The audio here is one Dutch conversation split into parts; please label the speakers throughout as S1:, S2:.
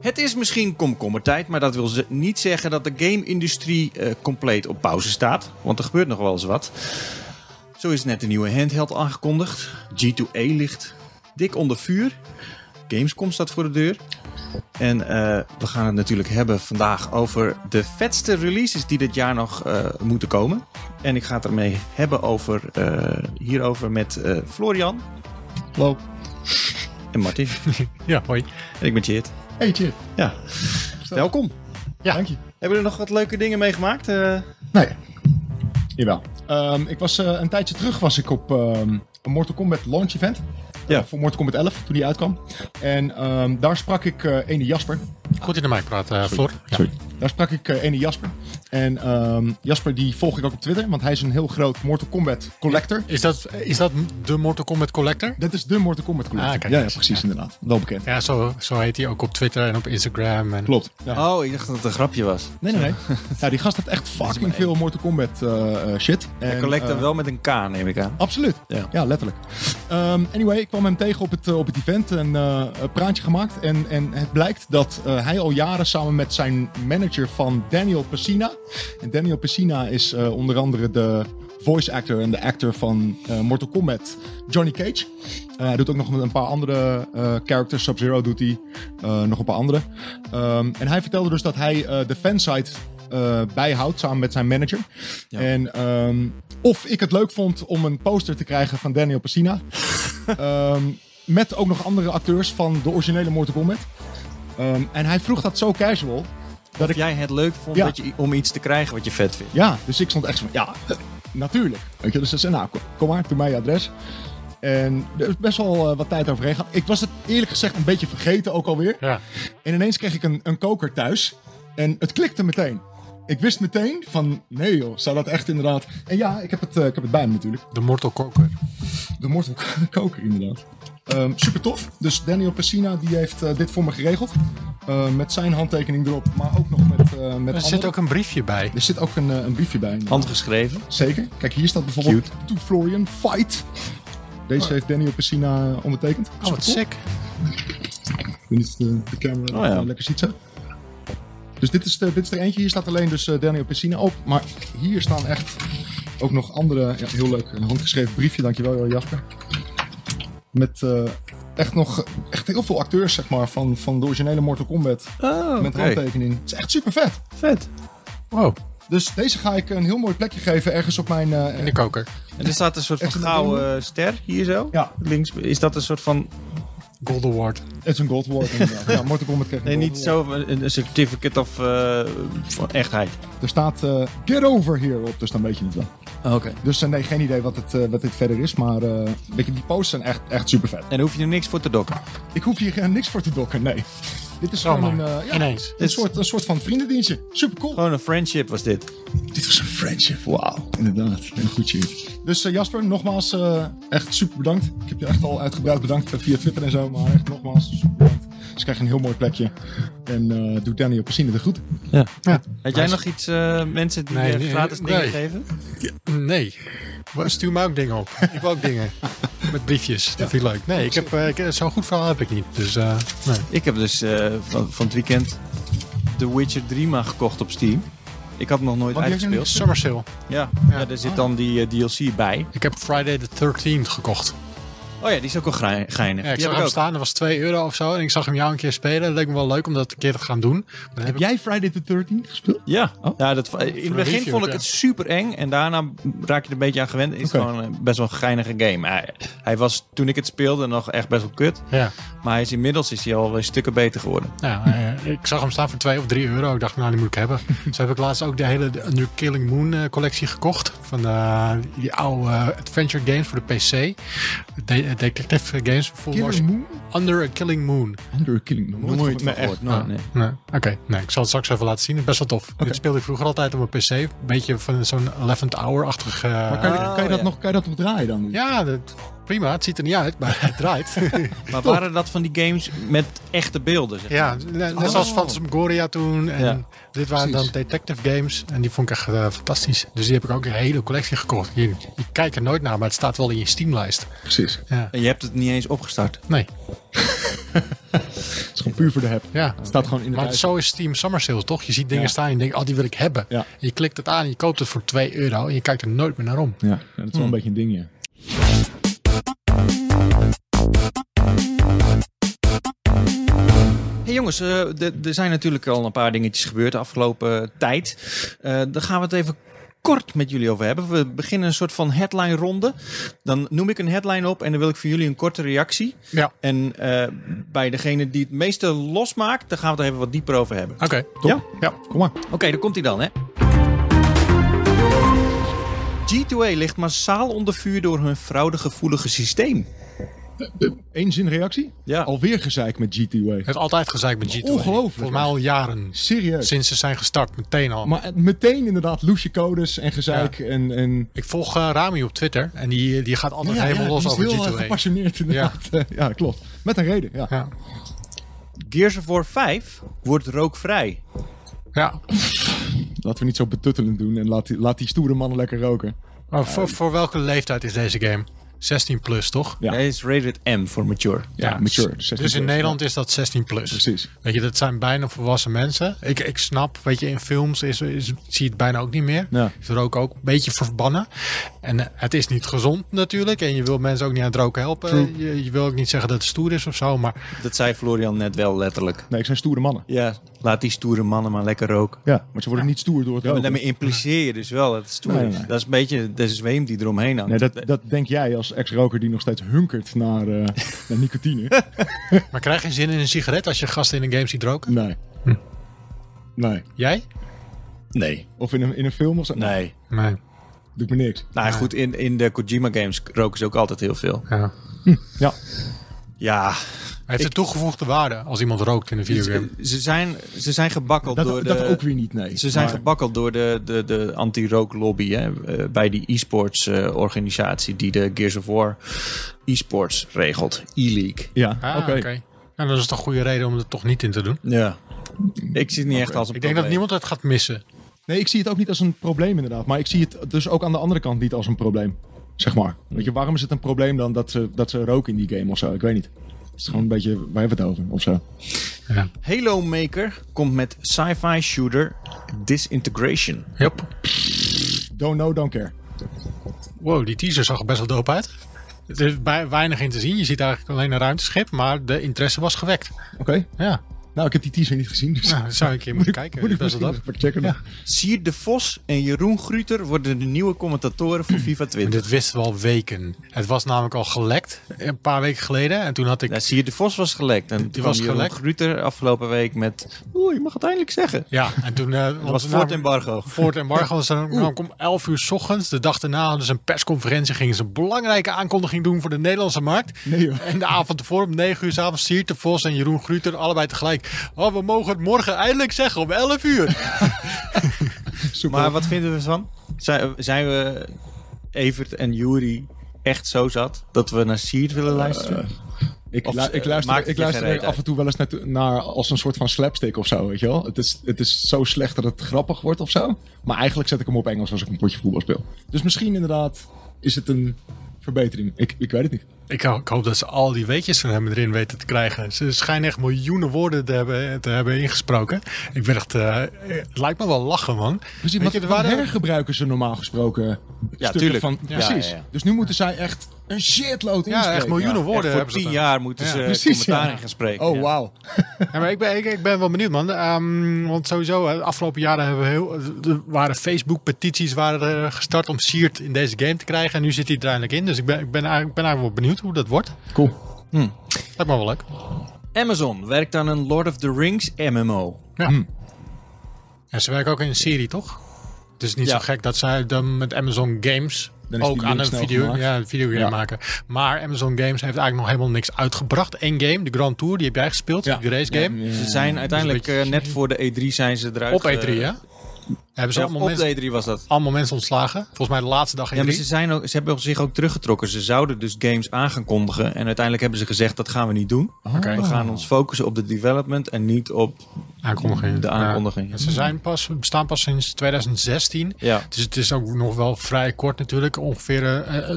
S1: Het is misschien komkommertijd, maar dat wil ze niet zeggen dat de game-industrie eh, compleet op pauze staat. Want er gebeurt nog wel eens wat. Zo is net een nieuwe handheld aangekondigd. G2A ligt dik onder vuur. Gamescom staat voor de deur. En eh, we gaan het natuurlijk hebben vandaag over de vetste releases die dit jaar nog eh, moeten komen. En ik ga het ermee hebben over, eh, hierover met eh, Florian
S2: Hallo.
S1: en Martin.
S2: Ja, hoi.
S1: en ik ben Jeert.
S2: Eetje.
S1: Ja, welkom.
S2: Ja. Dank je.
S1: Hebben we er nog wat leuke dingen mee gemaakt? Eh,
S2: Nee. Jawel. Ehm, ik was, eh, een tijdje terug was ik op ehm, een Mortal Kombat launch event.
S1: Ja.
S2: Eh, voor Mortal Kombat 11, toen die uitkwam. En ehm, daar sprak ik eh ene Jasper.
S3: Goed in de mic praten, eh, Floor. Ja.
S2: Daar sprak ik eh, ene Jasper. En ehm, Jasper die volg ik ook op Twitter, want hij is een heel groot Mortal Kombat collector.
S3: Is, dat, is dat de Mortal Kombat Collector?
S2: Dat is de Mortal Kombat collector.
S3: Ah, kijk
S2: ja, ja,
S3: eens.
S2: precies inderdaad. Wel bekend.
S3: Ja, zo, zo heet hij ook op Twitter en op Instagram. En...
S2: Klopt. Ja.
S1: Oh, ik dacht dat het een grapje was.
S2: Nee, nee, nee. nou, die gast heeft echt fucking veel Mortal Kombat eh, eh, shit. En,
S1: Hij collecte
S2: eh,
S1: wel met een K, neem ik aan.
S2: Absoluut.
S1: Ja.
S2: Ja, letterlijk. Ehm, anyway, ik kwam hem tegen op het, eh, op het event en eh, een praatje gemaakt. En, en het blijkt dat eh, hij al jaren samen met zijn manager van Daniel Pessina. En Daniel Pessina is eh, onder andere de voice actor en de actor van eh, Mortal Kombat, Johnny Cage. Eh, hij doet ook nog een paar andere eh, characters. Sub-Zero doet hij. eh, nog een paar andere. Ehm, en hij vertelde dus dat hij eh, de fansite eh, bijhoudt samen met zijn manager.
S1: Ja.
S2: En ehm, of ik het leuk vond om een poster te krijgen van Daniel Pessina. Ehm, met ook nog andere acteurs van de originele Mortal Kombat. Ehm, en hij vroeg dat zo casual. Dat
S1: Dat
S2: ik,
S1: jij het leuk vond
S2: Ja.
S1: dat je, om iets te krijgen wat je vet vindt.
S2: ja, dus ik stond echt zo van, ja, eh, natuurlijk. Weet je, dus ze zei, nou, kom, kom maar, doe mij je adres. En er is best wel eh, wat tijd overheen gegaan. Ik was het eerlijk gezegd een beetje vergeten ook alweer.
S3: Ja.
S2: En ineens kreeg ik een, een koker thuis. En het klikte meteen. Ik wist meteen van, nee joh, zou dat echt inderdaad... En ja, ik heb het, eh, ik heb het bij me natuurlijk.
S3: De Mortal Koker.
S2: De Mortal Koker, inderdaad. Ehm, super tof. Dus Daniel Pessina die heeft eh, dit voor me geregeld. Eh, met zijn handtekening erop, maar ook nog met, eh met
S3: Er zit
S2: andere-
S3: ook een briefje bij.
S2: Er zit ook een, eh, een briefje bij. inderdaad.
S1: Handgeschreven.
S2: Zeker. Kijk, hier staat bijvoorbeeld To Florian Fight. Deze heeft Daniel Pessina eh, ondertekend.
S3: Oh, wat
S2: Supercool.
S3: sick.
S2: Ik weet niet of de, de camera
S1: Oh, ja.
S2: dat, eh, lekker ziet zo. Dus dit is, de, dit is er eentje. Hier staat alleen dus eh, Daniel Pessina op. Maar hier staan echt ook nog andere... Ja, heel leuk. Een handgeschreven briefje. Dankjewel, eh, Jasper. Met eh, echt nog echt heel veel acteurs, zeg maar, van, van de originele Mortal Kombat.
S1: Oh,
S2: Met handtekening. Het is echt super vet.
S1: vet.
S3: Wow,
S2: Dus deze ga ik een heel mooi plekje geven ergens op mijn... eh,
S3: in de koker.
S1: En er staat een soort van
S2: Echt een
S1: gouden eh, ster hier zo.
S2: Ja.
S1: Links is dat een soort van.
S3: Gold Award.
S2: Het is een gold award inderdaad. ja, Mortal Kombat kreeg een
S1: Nee,
S2: gold
S1: niet
S2: award.
S1: zo. Een een certificate of. eh, van echtheid.
S2: Er staat eh, Get Over Here op, dus dan weet je het wel.
S1: Oh, Oké.
S2: Dus eh, nee, geen idee wat, het, eh, wat dit verder is, maar eh, weet je, die posts zijn echt, echt super vet.
S1: En daar hoef je er niks voor te dokken.
S2: Ik hoef hier eh, niks voor te dokken, nee. Dit is gewoon
S3: Zomaar.
S2: een, eh, ja,
S3: Oh, Ineens.
S2: een, soort, een soort van vriendendienstje. Super cool.
S1: Gewoon een friendship was dit.
S2: Dit was een friendship, wauw. Inderdaad, een goed shit. Dus eh, Jasper, nogmaals eh, echt super bedankt. Ik heb je echt al uitgebreid bedankt eh, via Twitter en zo, maar echt nogmaals super bedankt. Dus krijg je een heel mooi plekje. En eh doe Daniel Pessine de groeten.
S1: Ja.
S3: Ja.
S1: Had jij nog iets eh, mensen die
S3: Nee,
S1: eh,
S3: nee,
S1: gratis dingen
S3: nee.
S1: geven?
S3: Nee. Maar Stuur mij ook dingen op. Ik wil ook dingen. Met briefjes. Dat vind ik leuk. Nee, ik heb, eh, ik- zo'n goed verhaal heb ik niet. Dus eh, nee.
S1: Ik heb dus eh, van, van het weekend The Witcher 3 maar gekocht op Steam. Ik had hem nog nooit
S2: Wat, die heb je
S1: uitgespeeld.
S3: Summer Sale.
S1: Ja, ja.
S3: Ja.
S1: daar zit dan die eh, DLC bij.
S3: Ik heb Friday the 13th gekocht.
S1: Oh ja, die is ook wel grei- geinig.
S3: Ja, ik
S1: die
S3: zag
S1: heb ik
S3: hem
S1: ook.
S3: staan, dat was 2 euro of zo. En ik zag hem jou een keer spelen. Dat leek me wel leuk om dat een keer te gaan doen. Dan heb
S2: Heb jij Friday the 13th gespeeld?
S1: Ja, ja dat, in het
S3: Oh. een
S1: begin
S3: review,
S1: vond ik
S3: ja.
S1: het super eng. En daarna raak je er een beetje aan gewend. Het is
S2: Oké.
S1: gewoon eh, best wel een geinige game. Hij, hij was toen ik het speelde nog echt best wel kut.
S3: Ja,
S1: Maar hij is, inmiddels is hij al weer stukken beter geworden.
S3: ja eh, ik zag hem staan voor 2 of 3 euro. Ik dacht, nou, die moet ik hebben. Zo heb ik laatst ook de hele de New Killing Moon eh, collectie gekocht. Van eh, die oude eh, adventure games voor de PC. De- eh, detective games bijvoorbeeld.
S2: Killer Moon? Oh,
S3: Under a Killing Moon.
S2: Under a Killing Moon. Nooit
S1: van gehoord, nooit, nee.
S3: Nee, Oké, nee, ik zal het straks even laten zien. Best wel tof. Dit speelde ik vroeger altijd op mijn PC. Een beetje van zo'n 11th Hour-achtig. eh,
S2: Maar kan je,
S1: Ah,
S2: kan je dat
S1: ja.
S2: nog, kan je dat nog draaien dan?
S3: Ja, dat- prima. Het ziet er niet uit, maar het draait.
S1: Maar
S2: Tof.
S1: waren dat van die games met echte beelden? Zeg.
S3: Ja, net
S2: Oh.
S3: zoals Phantasmagoria toen. En
S1: Ja.
S3: dit waren
S2: Precies.
S3: dan detective games. En die vond ik echt eh, fantastisch. Dus die heb ik ook een hele collectie gekocht. Je, je kijkt er nooit naar, maar het staat wel in je Steamlijst.
S2: precies.
S3: Ja.
S1: En je hebt het niet eens opgestart.
S3: Nee.
S2: Het is gewoon puur voor de heb.
S3: Ja.
S2: Het staat gewoon in de
S3: Maar
S2: prijs.
S3: zo is Steam Summer Sale, toch? Je ziet dingen
S2: Ja.
S3: staan en je denkt, oh, die wil ik hebben.
S2: Ja.
S3: En je klikt het aan en je koopt het voor 2 euro en je kijkt er nooit meer naar om.
S2: Ja, dat is wel een beetje een ding, ja.
S1: Hey jongens, eh, d- er zijn natuurlijk al een paar dingetjes gebeurd de afgelopen eh, tijd. Eh, daar gaan we het even kort met jullie over hebben. We beginnen een soort van headline ronde. Dan noem ik een headline op en dan wil ik van jullie een korte reactie.
S3: Ja.
S1: En eh, bij degene die het meeste losmaakt, daar gaan we het er even wat dieper over hebben.
S3: Oké.
S1: Ja?
S2: Kom maar.
S1: Oké, daar komt hij dan, hè. G2A ligt massaal onder vuur door hun fraudegevoelige systeem.
S2: Eén zin reactie?
S1: Ja.
S2: Alweer gezeik met GTA.
S3: Het heeft altijd gezeik met G2.
S2: Ongelooflijk.
S3: Volgens mij al jaren.
S2: Serieus.
S3: Sinds ze zijn gestart, meteen al.
S2: Maar het- meteen inderdaad loesje codes en gezeik en... en
S3: Ik volg eh, Rami op Twitter en die, die gaat altijd helemaal
S2: die
S3: los
S2: is
S3: over
S2: heel eh,
S3: G2A.
S2: gepassioneerd inderdaad. Ja. klopt. Met een reden, ja.
S3: Ja.
S1: Gears of War 5 wordt rookvrij.
S3: ja.
S2: Laten we niet zo betuttelend doen en laat die, laat die stoere mannen lekker roken.
S3: Maar voor, voor welke leeftijd is deze game? 16 plus, toch?
S2: Ja.
S1: Dat is rated M voor mature.
S2: Ja, mature. 16
S3: Dus in
S2: plus,
S3: Nederland is dat 16 plus.
S2: Precies.
S3: Weet je, dat zijn bijna volwassen mensen. Ik, ik snap, weet je, in films is, is, zie je het bijna ook niet meer.
S2: Ja.
S3: Is er ook, ook een beetje verbannen. En eh, het is niet gezond natuurlijk. En je wil mensen ook niet aan het roken helpen. Je, je wil ook niet zeggen dat het stoer is of zo. Maar
S1: Dat zei Florian net wel letterlijk.
S2: Nee, ik zijn stoere mannen.
S1: Ja, laat die stoere mannen maar lekker roken.
S2: Ja, maar ze worden niet stoer door het
S1: Ja, maar
S2: roken.
S1: daarmee impliceer je dus wel dat het stoer
S2: Nee,
S1: is.
S2: nee.
S1: Dat is een beetje de zweem die eromheen hangt.
S2: Nee, dat, dat denk jij als ex-roker die nog steeds hunkert naar, eh, naar nicotine.
S3: Maar krijg je zin in een sigaret als je gasten in een game ziet roken?
S2: Nee. Nee.
S3: Jij?
S1: nee.
S2: Of in een, in een film of zo. Nou,
S1: nee.
S3: Nee.
S2: Doet me niks.
S1: Nou ja, goed, in, in de Kojima games roken ze ook altijd heel veel.
S3: Ja.
S2: Ja.
S1: Ja,
S3: Hij heeft een toegevoegde waarde als iemand rookt in een videogame.
S1: ze, ze zijn, ze zijn gebakkeld
S2: Dat,
S1: door de...
S2: dat ook weer niet, nee.
S1: Ze zijn
S2: Maar-
S1: gebakkeld door de, de, de anti-rooklobby hè, eh, bij die e-sports eh, organisatie die de Gears of War e-sports regelt. E-league.
S2: Ja,
S3: Ah,
S2: oké.
S3: oké. Nou, dat is toch een goede reden om er toch niet in te doen.
S1: Ja. Ik zie het niet echt als een
S3: Ik denk dat
S1: probleem.
S3: niemand het gaat missen.
S2: Nee, ik zie het ook niet als een probleem inderdaad. Maar ik zie het dus ook aan de andere kant niet als een probleem. Zeg maar. Weet je, waarom is het een probleem dan dat ze, dat ze roken in die game of zo? Ik weet niet. Het is gewoon een beetje, waar hebben we het over? Of zo.
S3: Ja.
S1: Halo Maker komt met sci-fi shooter Disintegration.
S3: Yep.
S2: Don't know, don't care.
S3: Wow, die teaser zag er best wel dope uit. Er is bij, weinig in te zien. Je ziet eigenlijk alleen een ruimteschip, maar de interesse was gewekt.
S2: Oké.
S3: Ja,
S2: Nou, ik heb die teaser niet gezien, dus
S3: nou, dat zou ik een keer moeten kijken.
S2: moet ik
S3: best
S2: best
S3: wel
S2: wel
S3: dope.
S2: checken. nog.
S1: Sier de Vos en Jeroen Gruter worden de nieuwe commentatoren voor FIFA
S3: En
S1: 20.
S3: dit wisten we al weken. Het was namelijk al gelekt een paar weken geleden. En toen had ik.
S1: Nou, Sier de Vos was gelekt. En toen
S3: was
S1: was Jeroen
S3: gelekt.
S1: Gruter afgelopen week met... Oeh, je mag het eindelijk zeggen.
S3: Ja, en toen. eh,
S1: Dat
S3: want-
S1: was voor het embargo.
S3: Voor het embargo was er kwam om 11 uur 's ochtends. De dag daarna hadden ze een persconferentie. Gingen ze een belangrijke aankondiging doen voor de Nederlandse markt.
S2: Nee, joh.
S3: En de avond ervoor om 9 uur 's avonds Siert de Vos en Jeroen Gruter allebei tegelijk. Oh, we mogen het morgen eindelijk zeggen om 11 uur.
S2: Super.
S1: Maar wat vinden we ervan? Zijn, zijn we Evert en Jury echt zo zat dat we naar Siert willen
S3: Eh,
S1: luisteren?
S2: Ik,
S1: Of,
S2: lu- ik
S1: eh,
S2: luister,
S1: maakt het
S2: ik
S1: je
S2: luister
S1: geen
S2: er
S1: reet uit?
S2: af en toe wel eens naar, naar als een soort van slapstick of zo, weet je wel. Het is, het is zo slecht dat het grappig wordt of zo. Maar eigenlijk zet ik hem op Engels als ik een potje voetbal speel. Dus misschien inderdaad is het een verbetering. Ik, ik weet het niet.
S3: Ik, ho- ik hoop dat ze al die weetjes van hem erin weten te krijgen. Ze schijnen echt miljoenen woorden te hebben, eh, te hebben ingesproken. Ik ben echt. eh, het lijkt me wel lachen, man.
S2: Precies,
S3: Weet
S2: wat,
S3: je, er
S2: wat
S3: waren-
S2: hergebruiken ze normaal gesproken stukken
S1: tuurlijk.
S2: van...
S1: Ja,
S2: precies.
S1: ja, ja.
S2: Dus nu moeten zij echt een shitload
S3: Ja, echt
S2: inspreken.
S3: miljoenen
S1: Echt
S3: woorden
S1: voor
S3: hebben ze
S1: tien
S3: dan.
S1: jaar moeten
S3: Ja,
S1: ze
S2: precies,
S1: commentaar
S2: ja.
S1: in gaan spreken.
S2: Oh,
S1: ja.
S2: wauw.
S3: Ja, maar ik, ben, ik, ik ben wel benieuwd, man. Ehm, want sowieso, hè, de afgelopen jaren hebben we heel, er waren Facebook-petities waren er gestart om Siert in deze game te krijgen. En nu zit hij er eindelijk in. Dus ik ben, ik ben, eigenlijk- ik ben eigenlijk wel benieuwd hoe dat wordt.
S2: Cool.
S3: Lijkt me wel leuk.
S1: Amazon werkt aan een Lord of the Rings MMO.
S3: Ja. En ze werken ook in een serie, toch? Het is niet
S1: Ja.
S3: zo gek dat zij dan met Amazon Games
S2: Dan is die
S3: ook aan
S2: link
S3: een
S2: snel
S3: video,
S2: gemaakt.
S3: ja, een videogame
S2: Ja.
S3: maken. Maar Amazon Games heeft eigenlijk nog helemaal niks uitgebracht. Eén game, de Grand Tour, die heb jij gespeeld,
S2: Ja.
S3: de race game.
S1: Ze zijn uiteindelijk
S3: beetje-
S1: eh, net voor de E3 zijn ze eruit.
S3: Op E E3,
S1: eh,
S3: hè? Hebben ze
S1: ja,
S3: allemaal
S1: op
S3: mensen,
S1: de E3 was dat.
S3: allemaal mensen ontslagen. Volgens mij de laatste dag E E3.
S1: Ja, maar ze, zijn ook, ze hebben zich ook teruggetrokken. Ze zouden dus games aan gaan kondigen. En uiteindelijk hebben ze gezegd, dat gaan we niet doen.
S2: Ah.
S3: Oké.
S1: We gaan ons focussen op de development en niet op...
S3: aankondiging.
S1: De aankondiging.
S3: Ja. Ze zijn pas, bestaan pas sinds 2016.
S1: Ja.
S3: Dus het is ook nog wel vrij kort natuurlijk. Ongeveer eh, eh,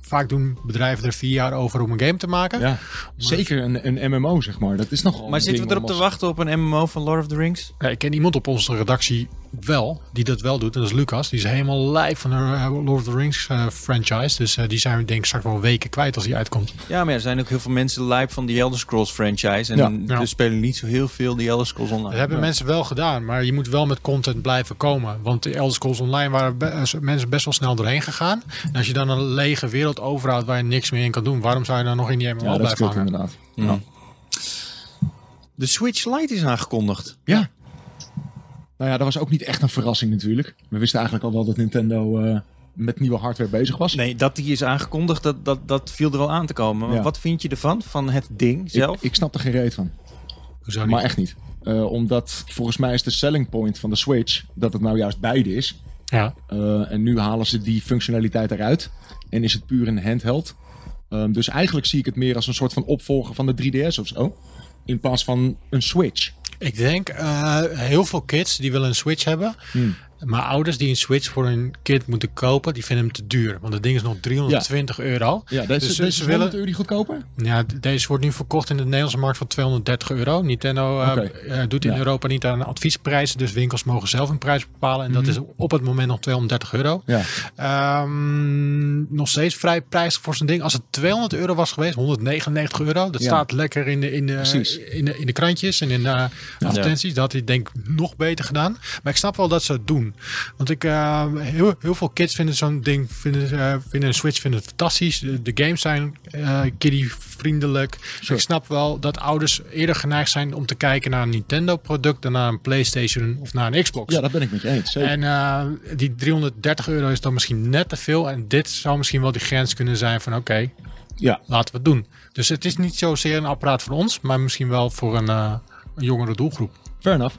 S3: vaak doen bedrijven er vier jaar over om een game te maken.
S2: Ja. Zeker een, een MMO, zeg maar. Dat is nog
S1: Maar zitten we erop te wachten op een MMO van Lord of the Rings?
S3: Ja, ik ken iemand op onze redactie wel, die dat wel doet. En dat is Lucas. Die is helemaal lijf van de eh, Lord of the Rings eh, franchise. Dus eh, die zijn we denk ik straks wel weken kwijt als die uitkomt.
S1: Ja, maar ja, er zijn ook heel veel mensen live van de Elder Scrolls franchise. En
S2: Ja.
S1: er
S3: Ja.
S1: spelen niet zo heel veel de Elder Scrolls online.
S3: Dat hebben mensen wel gedaan, maar je moet wel met content blijven komen. Want de Elder Scrolls Online waren be- eh, mensen best wel snel doorheen gegaan. En als je dan een lege wereld overhoudt waar je niks meer in kan doen, waarom zou je dan nog in die MMO
S2: Ja, dat
S3: blijven
S2: klopt
S3: hangen?
S2: inderdaad.
S1: De Switch Lite is aangekondigd.
S2: Ja. Nou ja, dat was ook niet echt een verrassing natuurlijk. We wisten eigenlijk al wel dat Nintendo eh, met nieuwe hardware bezig was.
S1: Nee, dat die is aangekondigd, dat, dat, dat viel er wel aan te komen. Maar
S2: Ja.
S1: wat vind je ervan, van het ding
S2: ik,
S1: zelf?
S2: ik snap er geen reet van.
S3: Hoezo niet?
S2: Maar echt niet. Eh, omdat volgens mij is de selling point van de Switch dat het nou juist beide is.
S3: Ja.
S2: Eh, en nu halen ze die functionaliteit eruit. En is het puur een handheld. Ehm, dus eigenlijk zie ik het meer als een soort van opvolger van de 3DS of zo. In plaats van een Switch.
S3: Ik denk, eh, heel veel kids die willen een Switch hebben.
S2: Hmm.
S3: Maar ouders die een Switch voor hun kind moeten kopen, die vinden hem te duur. Want dat ding is nog 320 euro.
S2: Ja,
S3: Dus
S2: deze,
S3: ze-
S2: deze
S3: ze
S2: is
S3: willen-
S2: 100 euro goedkoper.
S3: Ja, d- deze wordt nu verkocht in de Nederlandse markt voor 230 euro. Nintendo eh,
S2: Oké.
S3: eh, doet in
S2: Ja.
S3: Europa niet aan adviesprijzen. Dus winkels mogen zelf een prijs bepalen. En dat is op het moment nog 230 euro.
S2: Mhm. Ja.
S3: Ehm, nog steeds vrij prijzig voor zo'n ding. Als het 200 euro was geweest, 199 euro. Dat
S2: Ja.
S3: staat lekker in de, in,
S2: Precies.
S3: de, in, de, in de krantjes en in de advertenties. Dat had hij denk ik nog beter gedaan. Maar ik snap wel dat ze het doen. Want ik, eh, heel, heel veel kids vinden zo'n ding, vinden, eh, vinden een Switch vinden het fantastisch. De, de games zijn eh kiddie vriendelijk. Ik snap wel dat ouders eerder geneigd zijn om te kijken naar een Nintendo product dan naar een Playstation of naar een Xbox.
S2: ja, dat ben ik met je eens. Zeker.
S3: En eh, die 330 euro is dan misschien net te veel. En dit zou misschien wel die grens kunnen zijn van oké,
S2: ja.
S3: laten we het doen. Dus het is niet zozeer een apparaat voor ons, maar misschien wel voor een, eh, een jongere doelgroep.
S2: Fair enough.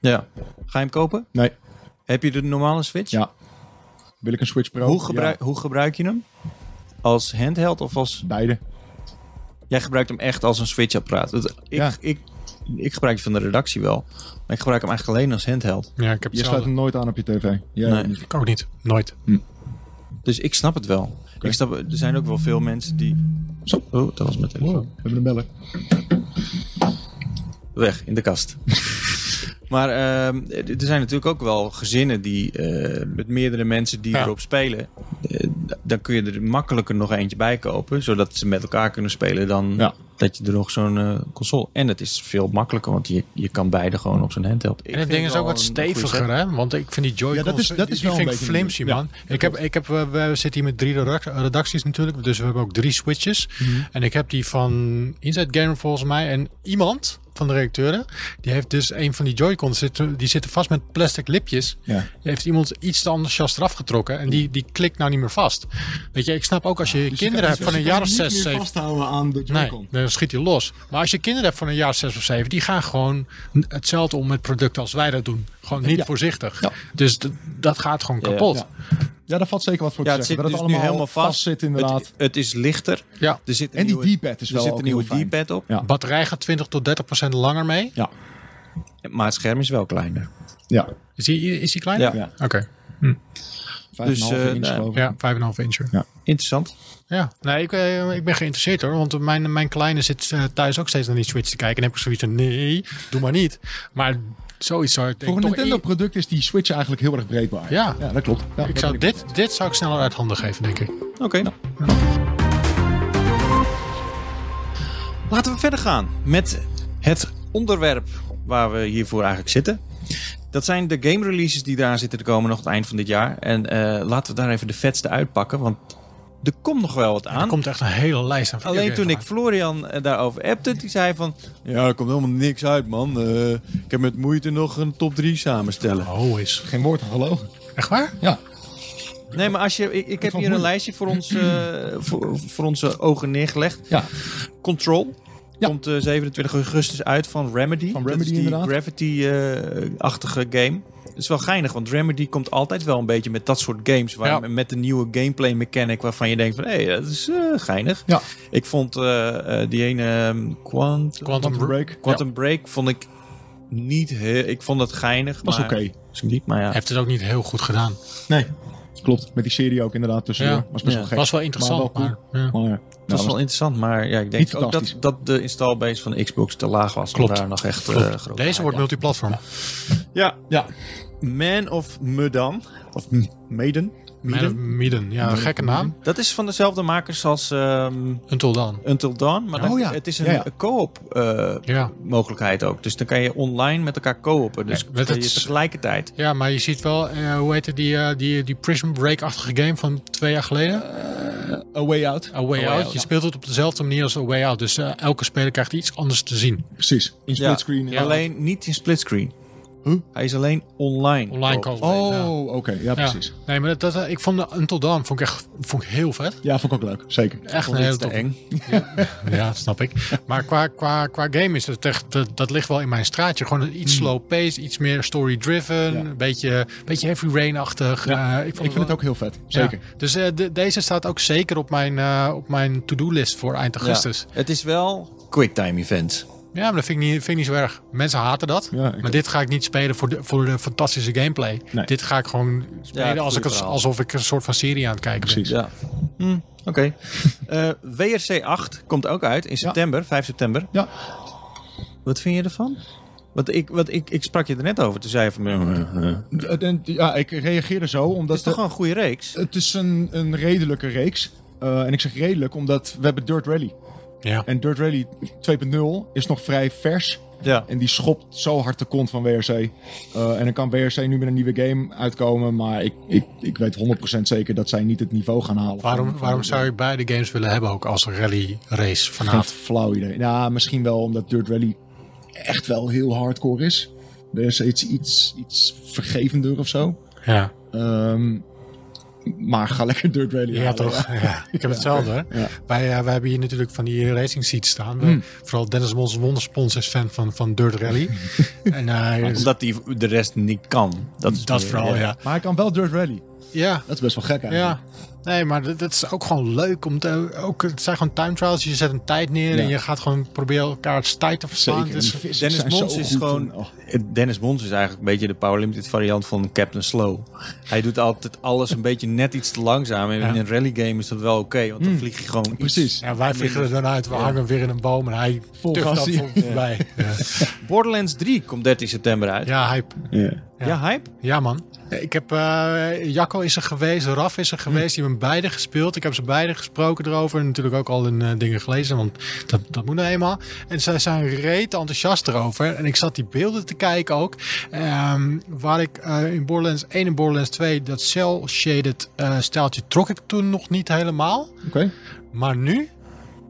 S1: Ja. Ga je hem kopen?
S2: Nee.
S1: Heb je de normale Switch?
S2: Ja. Wil ik een Switch Pro?
S1: Hoe, gebruik, hoe gebruik je hem? Als handheld of als...
S2: Ja, beide.
S1: Jij gebruikt hem echt als een Switch-apparaat. Dat- Ik,
S2: Ja.
S1: ik, ik gebruik die van de redactie wel. Maar ik gebruik hem eigenlijk alleen als handheld.
S3: Ja, ik heb
S2: Je
S3: het
S2: sluit hem nooit aan op je tv. Ja,
S1: Nee.
S2: niet.
S3: Ik ook niet. Nooit.
S1: Dus ik snap het wel. Ik snap, er zijn ook wel veel mensen die...
S2: Zo.
S1: Oh, dat was mijn telefoon.
S2: Wow, we hebben een beller.
S1: weg in de kast. maar ehm, er zijn natuurlijk ook wel gezinnen die eh, met meerdere mensen die
S3: Ja.
S1: erop spelen. eh, d- dan kun je er makkelijker nog eentje bij kopen, zodat ze met elkaar kunnen spelen dan
S2: Ja.
S1: dat je er nog zo'n eh, console. En het is veel makkelijker, want je, je kan beide gewoon op zo'n handheld. Ik
S3: En het
S1: vind
S3: ding is
S1: wel
S3: ook wat
S1: een goede
S3: steviger,
S1: set.
S3: hè? Want ik vind die Joy-Cons,
S2: Ja, dat is- dat
S3: die-
S2: is
S3: die
S2: wel
S3: vind
S2: een
S3: ik
S2: beetje
S3: flimsy,
S2: een- ja,
S3: man. ik heb, ik heb, we, we zitten hier met drie redact- redacties natuurlijk, dus we hebben ook drie switches.
S2: Mhm.
S3: En ik heb die van Inside Gamer volgens mij en iemand van de redacteuren, die heeft dus een van die Joy-Cons, zitten- die zitten vast met plastic lipjes.
S2: Ja.
S3: Die Heeft iemand iets te enthousiast eraf getrokken en die, die klikt nou niet meer vast. Weet je, ik snap ook
S2: Dus
S3: als je kinderen hebt van een jaar of zes, zeven...
S2: vasthouden aan de
S3: Nee, nee, dan schiet hij los. Maar als je kinderen hebt van een jaar zes of zeven, die gaan gewoon n- hetzelfde om met producten als wij dat doen. Gewoon niet
S2: Ja.
S3: voorzichtig.
S2: Ja.
S3: Dus d- dat gaat gewoon
S1: Ja.
S3: kapot.
S2: Ja.
S3: Ja,
S2: Ja, daar valt zeker wat voor
S1: Ja,
S2: te
S1: het
S2: zeggen.
S1: zit
S2: Dat
S1: dus
S2: het
S1: nu
S2: allemaal
S1: helemaal vast.
S2: zit inderdaad.
S1: Het, het is lichter. Er zit een
S2: En die
S1: nieuwe-
S2: D-pad is
S1: er
S2: wel
S1: zit
S2: ook
S1: een
S2: heel
S1: nieuwe
S2: fijn.
S1: D-pad op,
S2: Ja.
S3: Batterij gaat 20 tot 30 procent langer mee.
S2: ja.
S1: maar het scherm is wel kleiner.
S2: Ja.
S3: Is die, is die kleiner?
S1: Ja.
S3: Oké.
S2: Vijf
S1: Dus,
S2: en een halve
S1: eh,
S2: inch,
S1: nou,
S2: geloof ik.
S3: Ja, 5,5 inch. Ja.
S1: Interessant.
S3: Nee, ik, eh, ik ben geïnteresseerd hoor. Want mijn, mijn kleine zit eh, thuis ook steeds naar die Switch te kijken. En heb ik zoiets van, nee, doe maar niet. Maar zoiets zou ik denk
S2: Voor een
S3: toch eer-
S2: Nintendo-product is die Switch eigenlijk heel erg breekbaar.
S3: Ja.
S2: ja dat klopt. Ja,
S3: Ik
S2: dat
S3: zou
S2: ben
S3: dit, dit zou ik sneller uit handen geven, denk ik.
S1: Oké. Laten we verder gaan met het onderwerp waar we hiervoor eigenlijk zitten. Dat zijn de game releases die eraan zitten te komen nog het eind van dit jaar. En eh, laten we daar even de vetste uitpakken, want er komt nog wel wat
S3: Er
S1: aan.
S3: komt echt een hele lijst aan
S1: Alleen toen ik
S3: videogames
S1: Florian eh, daarover appte, die zei van... Ja, er komt helemaal niks uit, man. Eh, ik heb met moeite nog een top 3 samenstellen.
S3: aan. Oh, is.
S2: Geen woord aan gelogen.
S3: Echt waar?
S2: Ja.
S1: Nee, maar als je, ik, ik heb
S2: vond
S1: hier een
S2: moeilijk.
S1: lijstje voor, ons, eh, voor, voor onze ogen neergelegd.
S2: Ja.
S1: Control.
S2: Ja.
S1: Komt eh, 27 augustus uit van Remedy.
S2: Van
S1: dat is
S2: Remedy,
S1: die
S2: inderdaad.
S1: Gravity-achtige game. Dat is wel geinig, want Remedy komt altijd wel een beetje met dat soort games. Waar,
S3: Ja.
S1: Met de nieuwe gameplay mechanic waarvan je denkt van... hé, dat is eh, geinig.
S2: Ja.
S1: Ik vond eh, eh, die ene ehm, Quant-
S3: Quantum,
S2: Quantum
S3: Break.
S2: Break.
S1: Quantum Break vond ik niet heel... Ik vond dat geinig,
S2: was
S1: maar...
S2: oké.
S1: Is niet, maar ja.
S3: Heeft het ook niet heel goed gedaan.
S2: Nee. Klopt, met die serie ook inderdaad tussendoor.
S3: Ja.
S2: Was best
S1: Ja.
S2: wel gek.
S3: was wel interessant,
S2: wel
S3: maar,
S2: cool.
S3: ja.
S2: Maar, ja.
S1: Dat
S2: Nou,
S1: was wel interessant, maar ja, ik denk
S2: Niet
S1: ook dat,
S2: fantastisch.
S1: dat de installbase van de Xbox te laag was. om
S3: Klopt.
S1: Daar nog echt eh,
S3: Klopt.
S1: groot
S3: Deze wordt multiplatform.
S1: Ja,
S2: ja,
S1: Man of Medan. Of M- Maiden.
S3: Midden.
S1: Maiden.
S3: Midden, ja, een gekke naam.
S1: Dat is van dezelfde makers als ehm,
S3: Until dan.
S1: Until Dawn. Maar
S2: Oh
S1: dat-
S2: ja.
S1: het is een
S2: Ja, ja.
S1: eh, co-op eh,
S3: Ja.
S1: mogelijkheid ook. Dus dan kan je online met elkaar co-oppen. Dus
S3: Ja, dat
S1: speel je
S3: is-
S1: tegelijkertijd.
S3: ja, maar je ziet wel, eh, hoe heette die, eh, die, die Prism Break-achtige game van twee jaar geleden?
S2: A Way Out.
S3: A Way
S1: Way
S3: Out.
S1: Out,
S3: Je
S1: ja.
S3: speelt het op dezelfde manier als A Way Out. Dus eh, elke speler krijgt iets anders te zien.
S2: Precies, in
S1: Ja.
S2: splitscreen.
S1: Ja,
S2: ja.
S1: Alleen niet in splitscreen.
S2: Huh?
S1: Hij is alleen online.
S3: Online
S1: co-op.
S3: co-op.
S2: Oh,
S1: nou.
S2: oké. Ja,
S3: Ja.
S2: precies.
S3: Nee, maar dat, dat, eh, ik vond de Until Dawn vond ik echt vond ik heel vet.
S2: Ja, vond ik ook leuk. Zeker.
S3: Echt een
S1: Vond ik
S3: hele
S1: iets te
S3: top.
S1: eng.
S3: Ja, dat snap ik. Maar qua, qua, qua game is het echt, dat, dat ligt wel in mijn straatje. Gewoon een iets slow pace, iets meer story driven,
S2: Ja.
S3: een beetje, beetje heavy rain-achtig.
S2: Ja,
S3: Eh,
S2: ik vind het
S3: wel-
S2: ook heel vet.
S3: Ja.
S2: Zeker.
S3: Dus eh, de- deze staat ook zeker op mijn, eh, op mijn to-do-list voor eind augustus.
S1: Ja. Het is wel quicktime event.
S3: Ja, maar dat vind ik, niet, vind ik niet zo erg. Mensen haten dat.
S2: Ja, ik
S3: maar
S2: ook.
S3: dit ga ik niet spelen voor de, voor de fantastische gameplay.
S2: Nee.
S3: Dit ga ik gewoon spelen
S1: het
S3: als
S1: goede
S3: ik, als-
S1: verhaal.
S3: alsof ik een soort van serie aan het kijken
S2: Precies.
S1: Ja. Hm, Oké. Eh, WRC 8 komt ook uit in september, 5 september.
S2: Ja.
S1: Wat vind je ervan? Want ik, wat ik, ik sprak je er net over. Toen zei je van... Het
S2: Eh, en- Ja, ik reageerde zo, omdat
S1: is toch
S2: de-
S1: gewoon een goede reeks?
S2: het is een, een redelijke reeks. Eh, en ik zeg redelijk, omdat we hebben Dirt Rally.
S3: ben. Ja.
S2: En Dirt Rally 2.0 is nog vrij vers.
S1: Ja.
S2: En die schopt zo hard de kont van WRC. Eh, en dan kan WRC nu met een nieuwe game uitkomen. Maar ik, ik, ik weet 100% zeker dat zij niet het niveau gaan halen.
S3: Waarom, waarom zou je beide games willen hebben ook als rally race
S2: Geen
S3: fanaat?
S2: flauw idee. Nou, misschien wel omdat Dirt Rally echt wel heel hardcore is. WRC is iets, iets vergevender of zo.
S3: Ja,
S2: Ehm, maar ga lekker Dirt Rally
S3: ja,
S2: halen,
S3: toch? Ja. Ik heb hetzelfde hoor.
S2: Ja.
S3: Wij, eh, wij hebben hier natuurlijk van die racing seats staan.
S2: Hmm.
S3: Vooral Dennis Mons Wonderspons is fan van, van Dirt Rally. en eh,
S1: Omdat die de rest niet kan. Dat is
S3: dat
S1: meer-
S3: vooral, Oh, ja.
S2: Maar hij kan wel Dirt Rally.
S3: Ja,
S2: Dat is best wel gek eigenlijk.
S3: Ja. Nee, maar dat, dat is ook gewoon leuk. Om te, ook, het zijn gewoon time trials. Je zet een tijd neer en
S2: Ja.
S3: je gaat gewoon proberen elkaars tijd te verslaan. Dus-
S2: Zeker.
S3: Het is-
S2: En die vissen
S1: Dennis
S2: zijn zo
S1: Mons is
S2: goed
S1: gewoon...
S2: en- oh.
S1: Dennis Mons is eigenlijk een beetje de Power Limited variant van Captain Slow. Hij doet altijd alles een beetje net iets te langzaam. En
S3: Ja.
S1: in een rally game is dat wel oké. want dan vlieg je gewoon iets
S2: Hmm. Precies.
S3: ja, wij vliegen er dan uit. We hangen weer in een boom en hij
S2: Vol
S3: tuft
S2: gas
S3: dat
S2: hier.
S3: voor- voorbij. Ja.
S1: Borderlands 3 komt 13 september uit. Ja,
S3: ja, hype.
S2: Ja.
S1: hype?
S3: Ja, man. Ik heb, eh, Jacco is er geweest, Raf is er geweest. Die hebben beide gespeeld. Ik heb ze beide gesproken erover. En natuurlijk ook al hun eh, dingen gelezen, want dat, dat moet nou eenmaal. En zij zijn reet enthousiast erover. En ik zat die beelden te kijken ook. Ehm, waar ik eh, in Borderlands 1 en Borderlands 2 dat cel-shaded eh stijltje trok ik toen nog niet helemaal.
S2: Oké.
S3: Maar nu,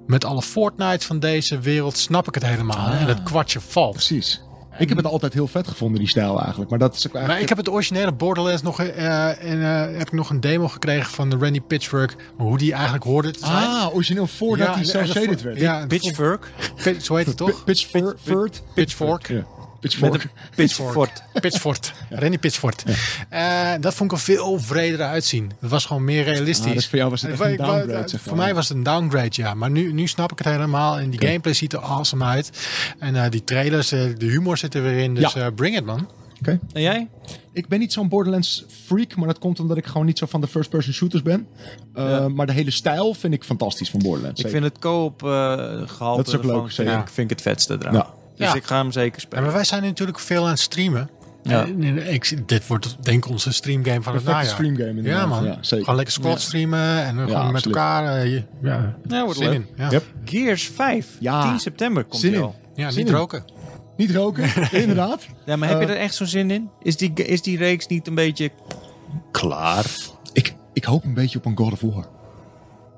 S3: met alle Fortnite van deze wereld, snap ik het helemaal. En dat kwartje valt.
S2: Precies. Ik heb het altijd heel vet gevonden, die stijl eigenlijk. Maar dat is ook
S3: Maar ik
S2: eigenlijk...
S3: heb het originele Borderlands nog, eh, en, eh, heb ik nog een demo gekregen van de Randy Pitchfork. Hoe die eigenlijk hoorde te zijn.
S2: Ah, origineel voordat hij
S3: en-
S2: zo
S3: en dat
S2: shaded
S3: vo-
S2: werd.
S3: Ja, pitchfork.
S1: Pitchfork.
S3: Zo heet het toch?
S2: Pitchfork. Pitchfork.
S3: Pitchfork.
S2: Ja.
S1: Met
S2: Pitchfork.
S1: een pitchfork.
S3: Pitchford. Randy Pitchford. Eh, dat vond ik er veel vreder uitzien. Het was gewoon meer realistisch.
S2: Ah, dus voor jou was het echt een
S3: Ik- ik-
S2: downgrade, zeg
S3: voor
S2: maar.
S3: mij was het een downgrade, ja. Maar nu, nu snap ik het helemaal. En die gameplay ziet er awesome uit. En eh, die trailers, eh, de humor zit er weer in. Dus
S2: Ja.
S3: eh, bring it, man.
S2: Oké.
S1: En jij?
S2: Ik ben niet zo'n Borderlands freak, maar dat komt omdat ik gewoon niet zo van de first-person shooters ben. Eh,
S1: Ja.
S2: Maar de hele stijl vind ik fantastisch van Borderlands.
S1: Ik
S2: Zeker.
S1: vind het co-op eh gehalte
S2: Dat is ook leuk,
S1: ervan, vind,
S2: zeker.
S1: ik, vind ik het vetste eraan.
S2: Ja.
S1: Dus
S3: Ja.
S1: ik ga hem zeker
S3: Ja,
S1: spelen.
S3: maar wij zijn nu natuurlijk veel aan het streamen.
S1: Ja.
S3: En, en ik, dit wordt denk ik onze streamgame van
S2: Perfecte
S3: het najaar.
S2: streamgame inderdaad.
S3: Ja man,
S2: Ja, zeker.
S3: gewoon lekker squad streamen en dan
S2: Ja,
S3: gewoon met
S2: absoluut.
S3: elkaar. eh, je- ja,
S1: Ja, wordt
S3: zin
S1: leuk.
S3: in. Ja,
S2: Yep.
S1: Gears 5.
S2: Ja.
S1: 10 september komt
S2: Zin
S1: die
S2: in.
S1: al.
S3: ja
S2: Zin
S3: niet
S2: in.
S3: roken.
S2: Niet roken, inderdaad.
S1: Ja, maar heb je
S2: Eh,
S1: er echt zo'n zin in? Is die, is die reeks niet een beetje klaar?
S2: Ik, ik hoop een beetje op een God of War.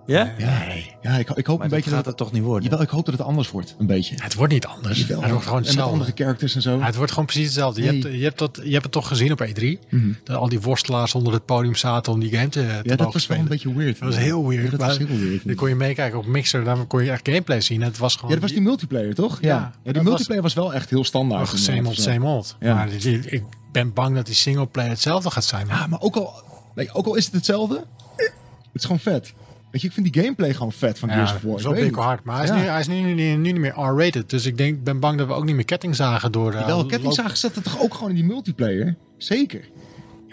S1: Ja?
S2: Ja, ja ik, ik hoop
S1: Maar
S2: een
S1: dat
S2: beetje
S1: gaat
S2: dat
S1: het toch niet worden?
S2: Jawel, ik hoop dat het anders wordt, een beetje.
S3: Het wordt niet anders.
S2: Jawel.
S3: het wordt gewoon
S2: en met
S3: hetzelfde.
S2: andere characters en zo.
S3: Ja, het wordt gewoon precies hetzelfde. Je,
S2: Nee. Mhm.
S3: hebt, je, hebt dat, je hebt het toch gezien op E3? Dat al die worstelaars onder het podium zaten om die game te, te
S2: Ja, dat
S3: mogen
S2: was wel
S3: spelen.
S2: een beetje weird.
S3: Dat was heel weird.
S2: Ja, dat was
S3: maar
S2: heel weird.
S3: Dan kon je meekijken op Mixer. Daar kon je echt gameplay zien. Het was gewoon...
S2: Ja, dat was die multiplayer, toch?
S3: Ja.
S2: Ja, die
S3: Dat was-
S2: multiplayer was wel echt heel standaard.
S3: Ach,
S2: inderdaad,
S3: Oh, same old,
S2: of zo.
S3: same old.
S2: Ja.
S3: Maar die- die- ik ben bang dat die singleplayer hetzelfde gaat zijn.
S2: Ja, Ah, maar ook al, nee, ook al is het hetzelfde, het is gewoon vet. Weet je, ik vind die gameplay gewoon vet van
S3: Ja,
S2: Gears of War.
S3: dat
S2: Ik
S3: is wel
S2: weet niet.
S3: hard. Maar hij is,
S2: Ja.
S3: nu, hij is nu, nu, nu niet meer R-rated. Dus ik denk, ik ben bang dat we ook niet meer kettingzagen door... eh,
S2: Wel,
S3: loop-
S2: kettingzagen zat er toch ook gewoon in die multiplayer? Zeker.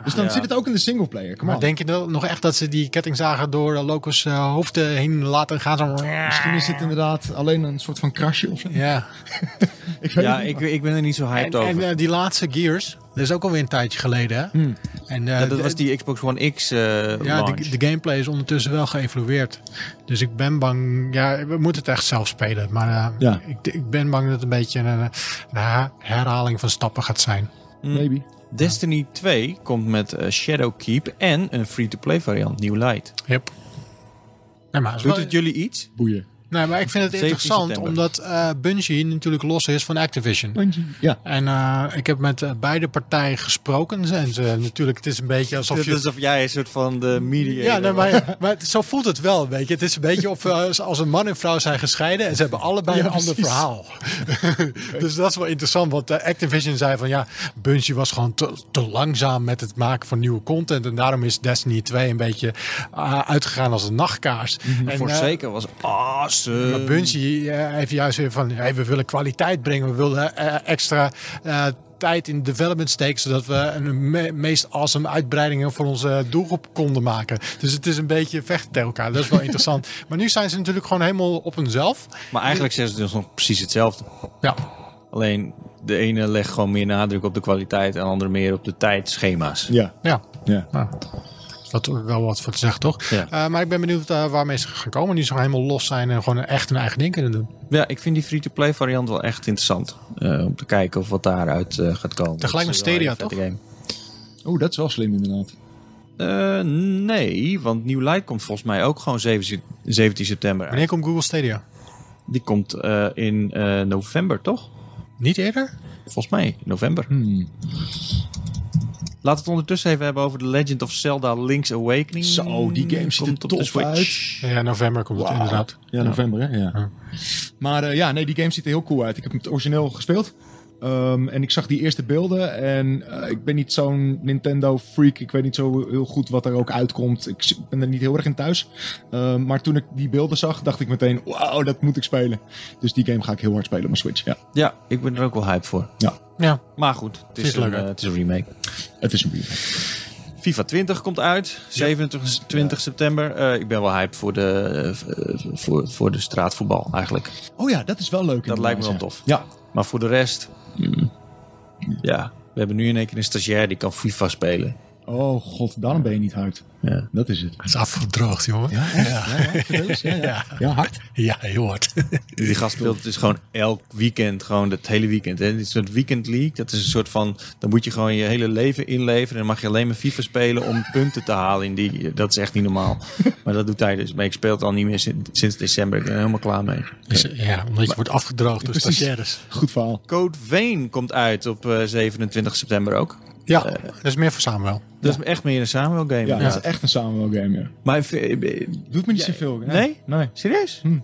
S2: Dus dan
S1: Ja.
S2: zit het ook in de singleplayer. Come
S3: Maar
S2: on.
S3: denk je wel nog echt dat ze die kettingzagen door eh, Locos eh, hoofden heen laten gaan? Zo...
S2: Misschien is het inderdaad alleen een soort van crashje of zo.
S3: Ja.
S2: Ik weet
S1: Ja,
S2: het niet.
S1: ik, ik ben er niet zo
S3: En,
S1: hyped
S3: en
S1: over.
S3: eh, die laatste Gears, dat is ook alweer een tijdje geleden. Hè?
S2: Hm.
S3: En, eh,
S1: Ja, dat was die Xbox One X eh
S3: ja,
S1: launch.
S3: de, de gameplay is ondertussen wel geëvolueerd. Dus ik ben bang. Ja, we moeten het echt zelf spelen. Maar eh,
S2: Ja.
S3: ik, ik ben bang dat het een beetje een, eh, een her- herhaling van stappen gaat zijn.
S2: Maybe.
S1: Destiny 2 komt met eh, Shadowkeep en een free-to-play variant, New Light.
S3: Yep. Nee, maar, het is
S1: Doet
S3: wel-
S1: het jullie iets?
S2: Boeien.
S3: nee, maar ik vind het
S1: 17
S3: interessant
S1: september.
S3: omdat eh Bungie natuurlijk los is van Activision.
S2: Ja.
S3: En eh, ik heb met eh, beide partijen gesproken. En ze, natuurlijk, het is een beetje alsof je...
S1: alsof jij een soort van de media...
S3: Ja, nee, maar, maar het- zo voelt het wel, weet je. Het is een beetje of eh, als- als een man en vrouw zijn gescheiden en ze hebben allebei
S2: Ja,
S3: een ander
S2: precies.
S3: verhaal. dus dat is wel interessant, want eh, Activision zei van ja, Bungie was gewoon te, te langzaam met het maken van nieuwe content. En daarom is Destiny 2 een beetje eh, uitgegaan als een nachtkaars.
S1: Mhm,
S3: En, eh,
S1: Forsaken was
S3: maar
S1: awesome.
S3: Bungie eh, heeft juist weer van, hey, we willen kwaliteit brengen. We willen eh, extra eh, tijd in development steken, zodat we een me- meest awesome uitbreidingen voor onze doelgroep konden maken. Dus het is een beetje vechten tegen elkaar. Dat is wel interessant. Maar nu zijn ze natuurlijk gewoon helemaal op hunzelf.
S1: Maar eigenlijk zeggen ze dus nog precies hetzelfde.
S3: Ja.
S1: Alleen de ene legt gewoon meer nadruk op de kwaliteit en de andere meer op de tijdschema's.
S2: Ja.
S3: Ja.
S2: Ja.
S3: Nou, dat is wel wat voor te zeggen, toch?
S1: Ja.
S3: Eh, maar ik ben benieuwd eh, waarmee ze gaan komen. Nu ze gewoon helemaal los zijn en gewoon echt hun eigen ding kunnen doen.
S1: Ja, ik vind die free-to-play variant wel echt interessant. eh, om te kijken of wat daaruit eh, gaat komen.
S3: Tegelijk
S1: Dat is
S3: met
S1: wel
S3: Stadia,
S1: een vette
S2: Oeh, Oh, dat is wel slim inderdaad.
S1: Mm, game. Eh, nee, want New Light komt volgens mij ook gewoon 7 17 september uit.
S3: Wanneer komt Google Stadia?
S1: Die komt eh, in eh, november, toch?
S3: Niet eerder?
S1: Volgens mij, november.
S2: Hmm.
S1: Laten we het ondertussen even hebben over The Legend of Zelda Link's Awakening.
S2: Zo, die game ziet er
S1: Komt op de
S2: tof
S1: Switch.
S3: Ja, november komt het
S2: Wauw.
S3: inderdaad.
S2: Ja, november hè? Ja.
S3: Ja.
S2: Maar eh, ja, nee, die game ziet er heel cool uit. Ik heb het origineel gespeeld. Ehm, en ik zag die eerste beelden. En eh, ik ben niet zo'n Nintendo freak. Ik weet niet zo heel goed wat er ook uitkomt. Ik z- ben er niet heel erg in thuis. Ehm, maar toen ik die beelden zag, dacht ik meteen: wauw, dat moet ik spelen. Dus die game ga ik heel hard spelen op mijn Switch. Ja,
S1: Ja, ik ben er ook wel hype voor.
S3: ja.
S1: Maar goed, het is,
S3: Ziet er
S1: een,
S3: leuk uit.
S1: eh, het is een remake.
S2: het is een bier.
S1: FIFA 20 komt uit, 27 20 september. Eh, ik ben wel hyped voor de, eh, eh, voor, voor de straatvoetbal eigenlijk.
S2: Oh ja, dat is wel leuk. inderdaad,
S1: lijkt me wel
S2: ja.
S1: tof.
S2: Ja,
S1: Maar voor de rest... mm, ja, we hebben nu in één keer een stagiair die kan FIFA spelen.
S2: Oh god, daarom ben je niet hard.
S1: Ja.
S2: Dat is het.
S3: Het is afgedroogd, jongen.
S2: Ja, echt? Ja, ja, vertel eens. ja, ja.
S3: Ja.
S2: Ja, hard.
S3: Ja, heel hard.
S1: Die gast speelt dus gewoon elk weekend, gewoon het hele weekend. En dit is een soort weekend league. Dat is een soort van, dan moet je gewoon je hele leven inleveren. En dan mag je alleen maar FIFA spelen om punten te halen. In die, dat is echt niet normaal. Maar dat doet hij dus. Maar ik speel het al niet meer sinds, sinds december. Ik ben er helemaal klaar mee.
S3: Dus, eh, ja, omdat je wordt afgedroogd door
S2: Precies.
S3: stagiaires.
S2: Goed verhaal.
S1: Code Vein komt uit op eh, 27 september ook.
S3: Ja, Eh, dat is meer voor Samuel.
S1: Dat is echt meer een Samuel game.
S2: Ja, het
S1: inderdaad.
S2: is echt een samenwerking. Ja.
S1: Maar v- eh,
S2: Doet me niet zoveel.
S1: Nee?
S2: Nee.
S1: serieus?
S2: Hm.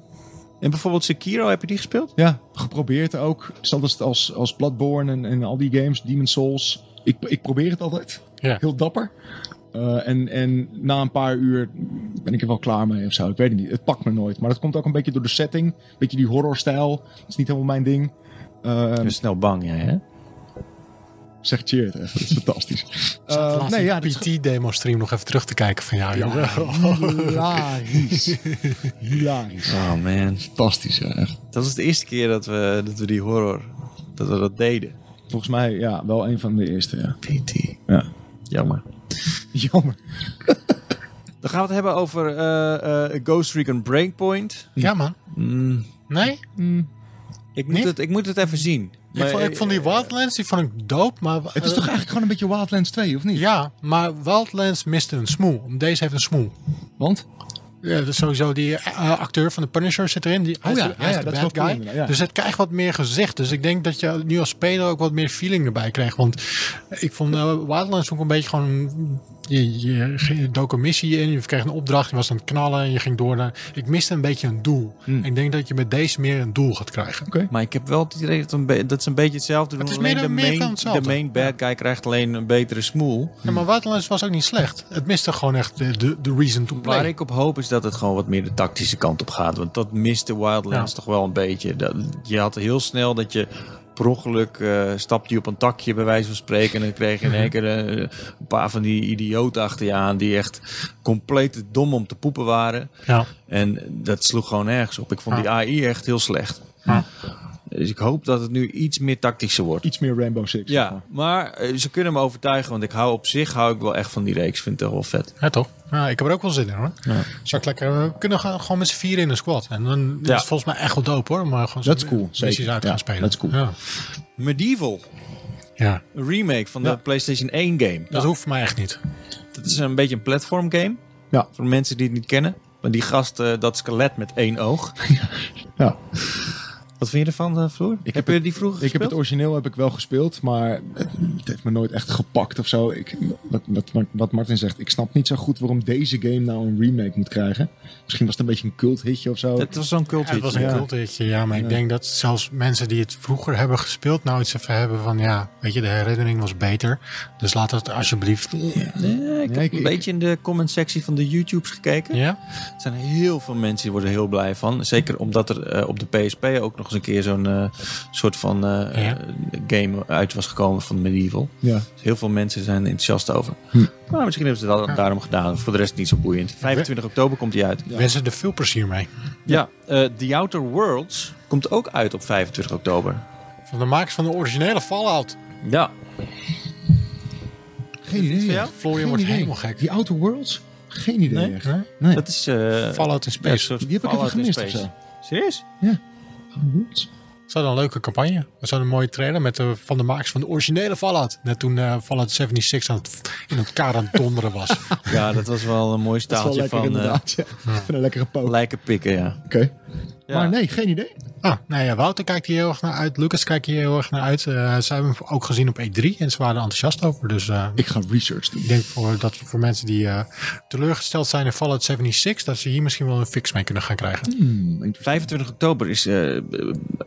S1: En bijvoorbeeld Sekiro, heb je die
S3: Ehm.
S1: gespeeld?
S2: Ja, geprobeerd ook. Zelfs als- als, als Bloodborne en, en al die games, Demon Souls. Ik, ik probeer het altijd.
S3: Ja.
S2: Heel dapper. Eh, en, en na een paar uur ben ik er wel klaar mee of zo. Ik weet het niet. Het pakt me nooit. Maar dat komt ook een beetje door de setting. Een beetje die horrorstijl. Dat is niet helemaal mijn ding. Eh,
S1: Je bent snel bang, jij, hè?
S2: Zeg cheer echt. Dat is fantastisch. Eh,
S3: Laatst nee, ja,
S2: dat is
S3: PT-demo-stream nog even terug te kijken van jou, jongen.
S2: Hilarisch. Hilarisch.
S1: Oh man.
S2: Fantastisch, ja, echt.
S1: Dat was de eerste keer dat we, dat we die horror, dat we dat deden.
S2: Volgens mij, ja, wel een van de eerste, ja.
S1: PT.
S2: Ja.
S1: Jammer.
S2: Jammer.
S1: Dan gaan we het hebben over eh, eh, Ghost Recon Breakpoint.
S3: Ja, man.
S1: Mm,
S3: Nee?
S1: ik, moet
S3: Niet?
S1: het, ik moet het even zien. eh,
S3: Ik vond, ik vond die Wildlands, die vond ik dope, maar...
S2: eh,
S3: eh,
S2: Het is toch eigenlijk gewoon een beetje Wildlands 2, of niet?
S3: Ja, maar Wildlands miste een smoel. Deze heeft een smoel.
S2: Want?
S3: Ja, dat is sowieso die eh, acteur van The Punisher zit erin. Die, hij is
S2: Oh ja,
S3: de,
S2: ja,
S3: hij is de
S2: dat is
S3: bad
S2: wel cool
S3: guy.
S2: inderdaad, ja.
S3: Dus het krijgt wat meer gezicht. Dus ik denk dat je nu als speler ook wat meer feeling erbij krijgt. Want ik vond eh, Wildlands ook een beetje gewoon... Je, je, je dook een missie in, je kreeg een opdracht, je was aan het knallen en je ging door naar... Ik miste een beetje een doel.
S2: Hmm.
S3: Ik denk dat je met deze meer een doel gaat krijgen.
S1: Maar ik heb wel het idee dat, een be- dat ze een beetje hetzelfde doen.
S3: is
S1: alleen
S3: meer-
S1: de,
S3: meer
S1: main,
S3: van hetzelfde.
S1: de main bad guy krijgt alleen een betere smoel.
S3: Ja, maar Wildlands was ook niet slecht. Het miste gewoon echt de, de, de reason to play.
S1: Waar ik op hoop is dat het gewoon wat meer de tactische kant op gaat. Want dat miste Wildlands
S3: Ja.
S1: toch wel een beetje. Dat, je had heel snel dat je per ongeluk eh, stapte je op een takje, bij wijze van spreken. En dan kreeg je in
S3: Mhm.
S1: één keer eh, een paar van die idioten achter je aan. die echt compleet te dom om te poepen waren.
S3: Ja.
S1: En dat sloeg gewoon nergens op. Ik vond die AI echt heel slecht.
S3: Ja.
S1: Dus ik hoop dat het nu iets meer tactischer wordt.
S2: Iets meer Rainbow Six. zeg
S1: Ja,
S2: maar.
S1: maar eh, ze kunnen me overtuigen, want ik hou op zich hou ik wel echt van die reeks. Vind het wel vet.
S3: Ja, toch? Ja, ik heb er ook wel zin in hoor.
S1: Ja.
S3: Zou ik lekker, we kunnen gaan- gewoon met z'n vieren in een squad. En dan
S1: Ja.
S3: is het volgens mij echt wel dope hoor. Maar gewoon
S2: Dat is
S3: zo'n
S2: cool,
S3: missies
S2: zeker.
S3: uit
S2: Ja,
S3: gaan spelen.
S2: dat is cool.
S3: Ja.
S1: Medieval,
S3: Ja.
S1: een remake van
S2: Ja.
S1: de PlayStation 1 game.
S3: Dat hoeft voor mij echt niet.
S1: Dat is een beetje een platform game.
S2: Ja.
S1: Voor mensen die het niet kennen. Maar die gast, eh, dat skelet met één oog.
S2: ja.
S1: Wat vind je ervan, eh, Floor? heb,
S2: heb
S1: je
S2: het-
S1: die vroeger
S2: Ik heb het
S1: gespeeld?
S2: origineel heb ik wel gespeeld, maar het, het heeft me nooit echt gepakt of zo. Ik, wat, wat, wat- wat Martin zegt, ik snap niet zo goed waarom deze game nou een remake moet krijgen. Misschien was het een beetje een cult hitje of zo.
S1: Het was zo'n cult
S3: Ja, het was een
S2: Ja.
S3: cult hitje, ja. Maar ik denk dat zelfs mensen die het vroeger hebben gespeeld... nou iets even hebben van, ja, weet je, de herinnering was beter. Dus laat dat alsjeblieft...
S1: Nee, ik heb
S2: Nee, ik-
S1: een
S2: ik-
S1: beetje in de comment sectie van de YouTubes gekeken.
S3: Ja?
S1: Er zijn heel veel mensen die worden heel blij van. Zeker omdat er eh, op de PSP ook nog eens een keer zo'n eh, soort van eh,
S3: Ja.
S1: game uit was gekomen van Medieval.
S2: ja.
S1: Dus heel veel mensen zijn er enthousiast over.
S2: Hm.
S1: Maar misschien hebben ze dat daarom gedaan. Voor de rest niet zo boeiend. 25 oktober komt die uit.
S2: Ja.
S3: Wensen er veel plezier mee.
S1: Ja, eh, The Outer Worlds komt ook uit op 25 oktober.
S3: Van de makers van de originele Fallout.
S1: Ja,
S2: Geen idee.
S1: voor jou?
S3: Florian
S2: Geen
S3: wordt
S2: idee.
S3: helemaal gek.
S2: Die Outer Worlds? Geen idee
S1: Nee?
S2: echt.
S3: Huh?
S2: Nee.
S1: dat is... eh
S3: Fallout in
S1: ja, een
S3: Space.
S1: soort
S2: Die heb ik even
S1: Fallout in
S2: gemist
S1: Space.
S2: of zo.
S1: Serieus?
S3: Ze hadden een leuke campagne. Ze hadden een mooie trailer met de, van de makers van de originele Fallout. Net toen eh, Fallout 76 aan het, in elkaar aan het donderen was.
S1: Ja, dat was wel een mooi
S2: Dat is wel
S1: staaltje
S2: lekker
S1: van eh
S2: inderdaad. ja. Even een lekkere poot. Oké.
S1: lijken pikken, ja. Ja.
S2: Maar nee, geen idee.
S3: ah, nou ja, Wouter kijkt hier heel erg naar uit. Lucas kijkt hier heel erg naar uit. Eh, ze hebben hem ook gezien op E3 en ze waren er enthousiast over. Dus eh,
S2: Ik ga research doen.
S3: ik denk voor, dat voor mensen die eh, teleurgesteld zijn in Fallout 76... dat ze hier misschien wel een fix mee kunnen gaan krijgen.
S2: Hmm, ik-
S1: 25 oktober is eh,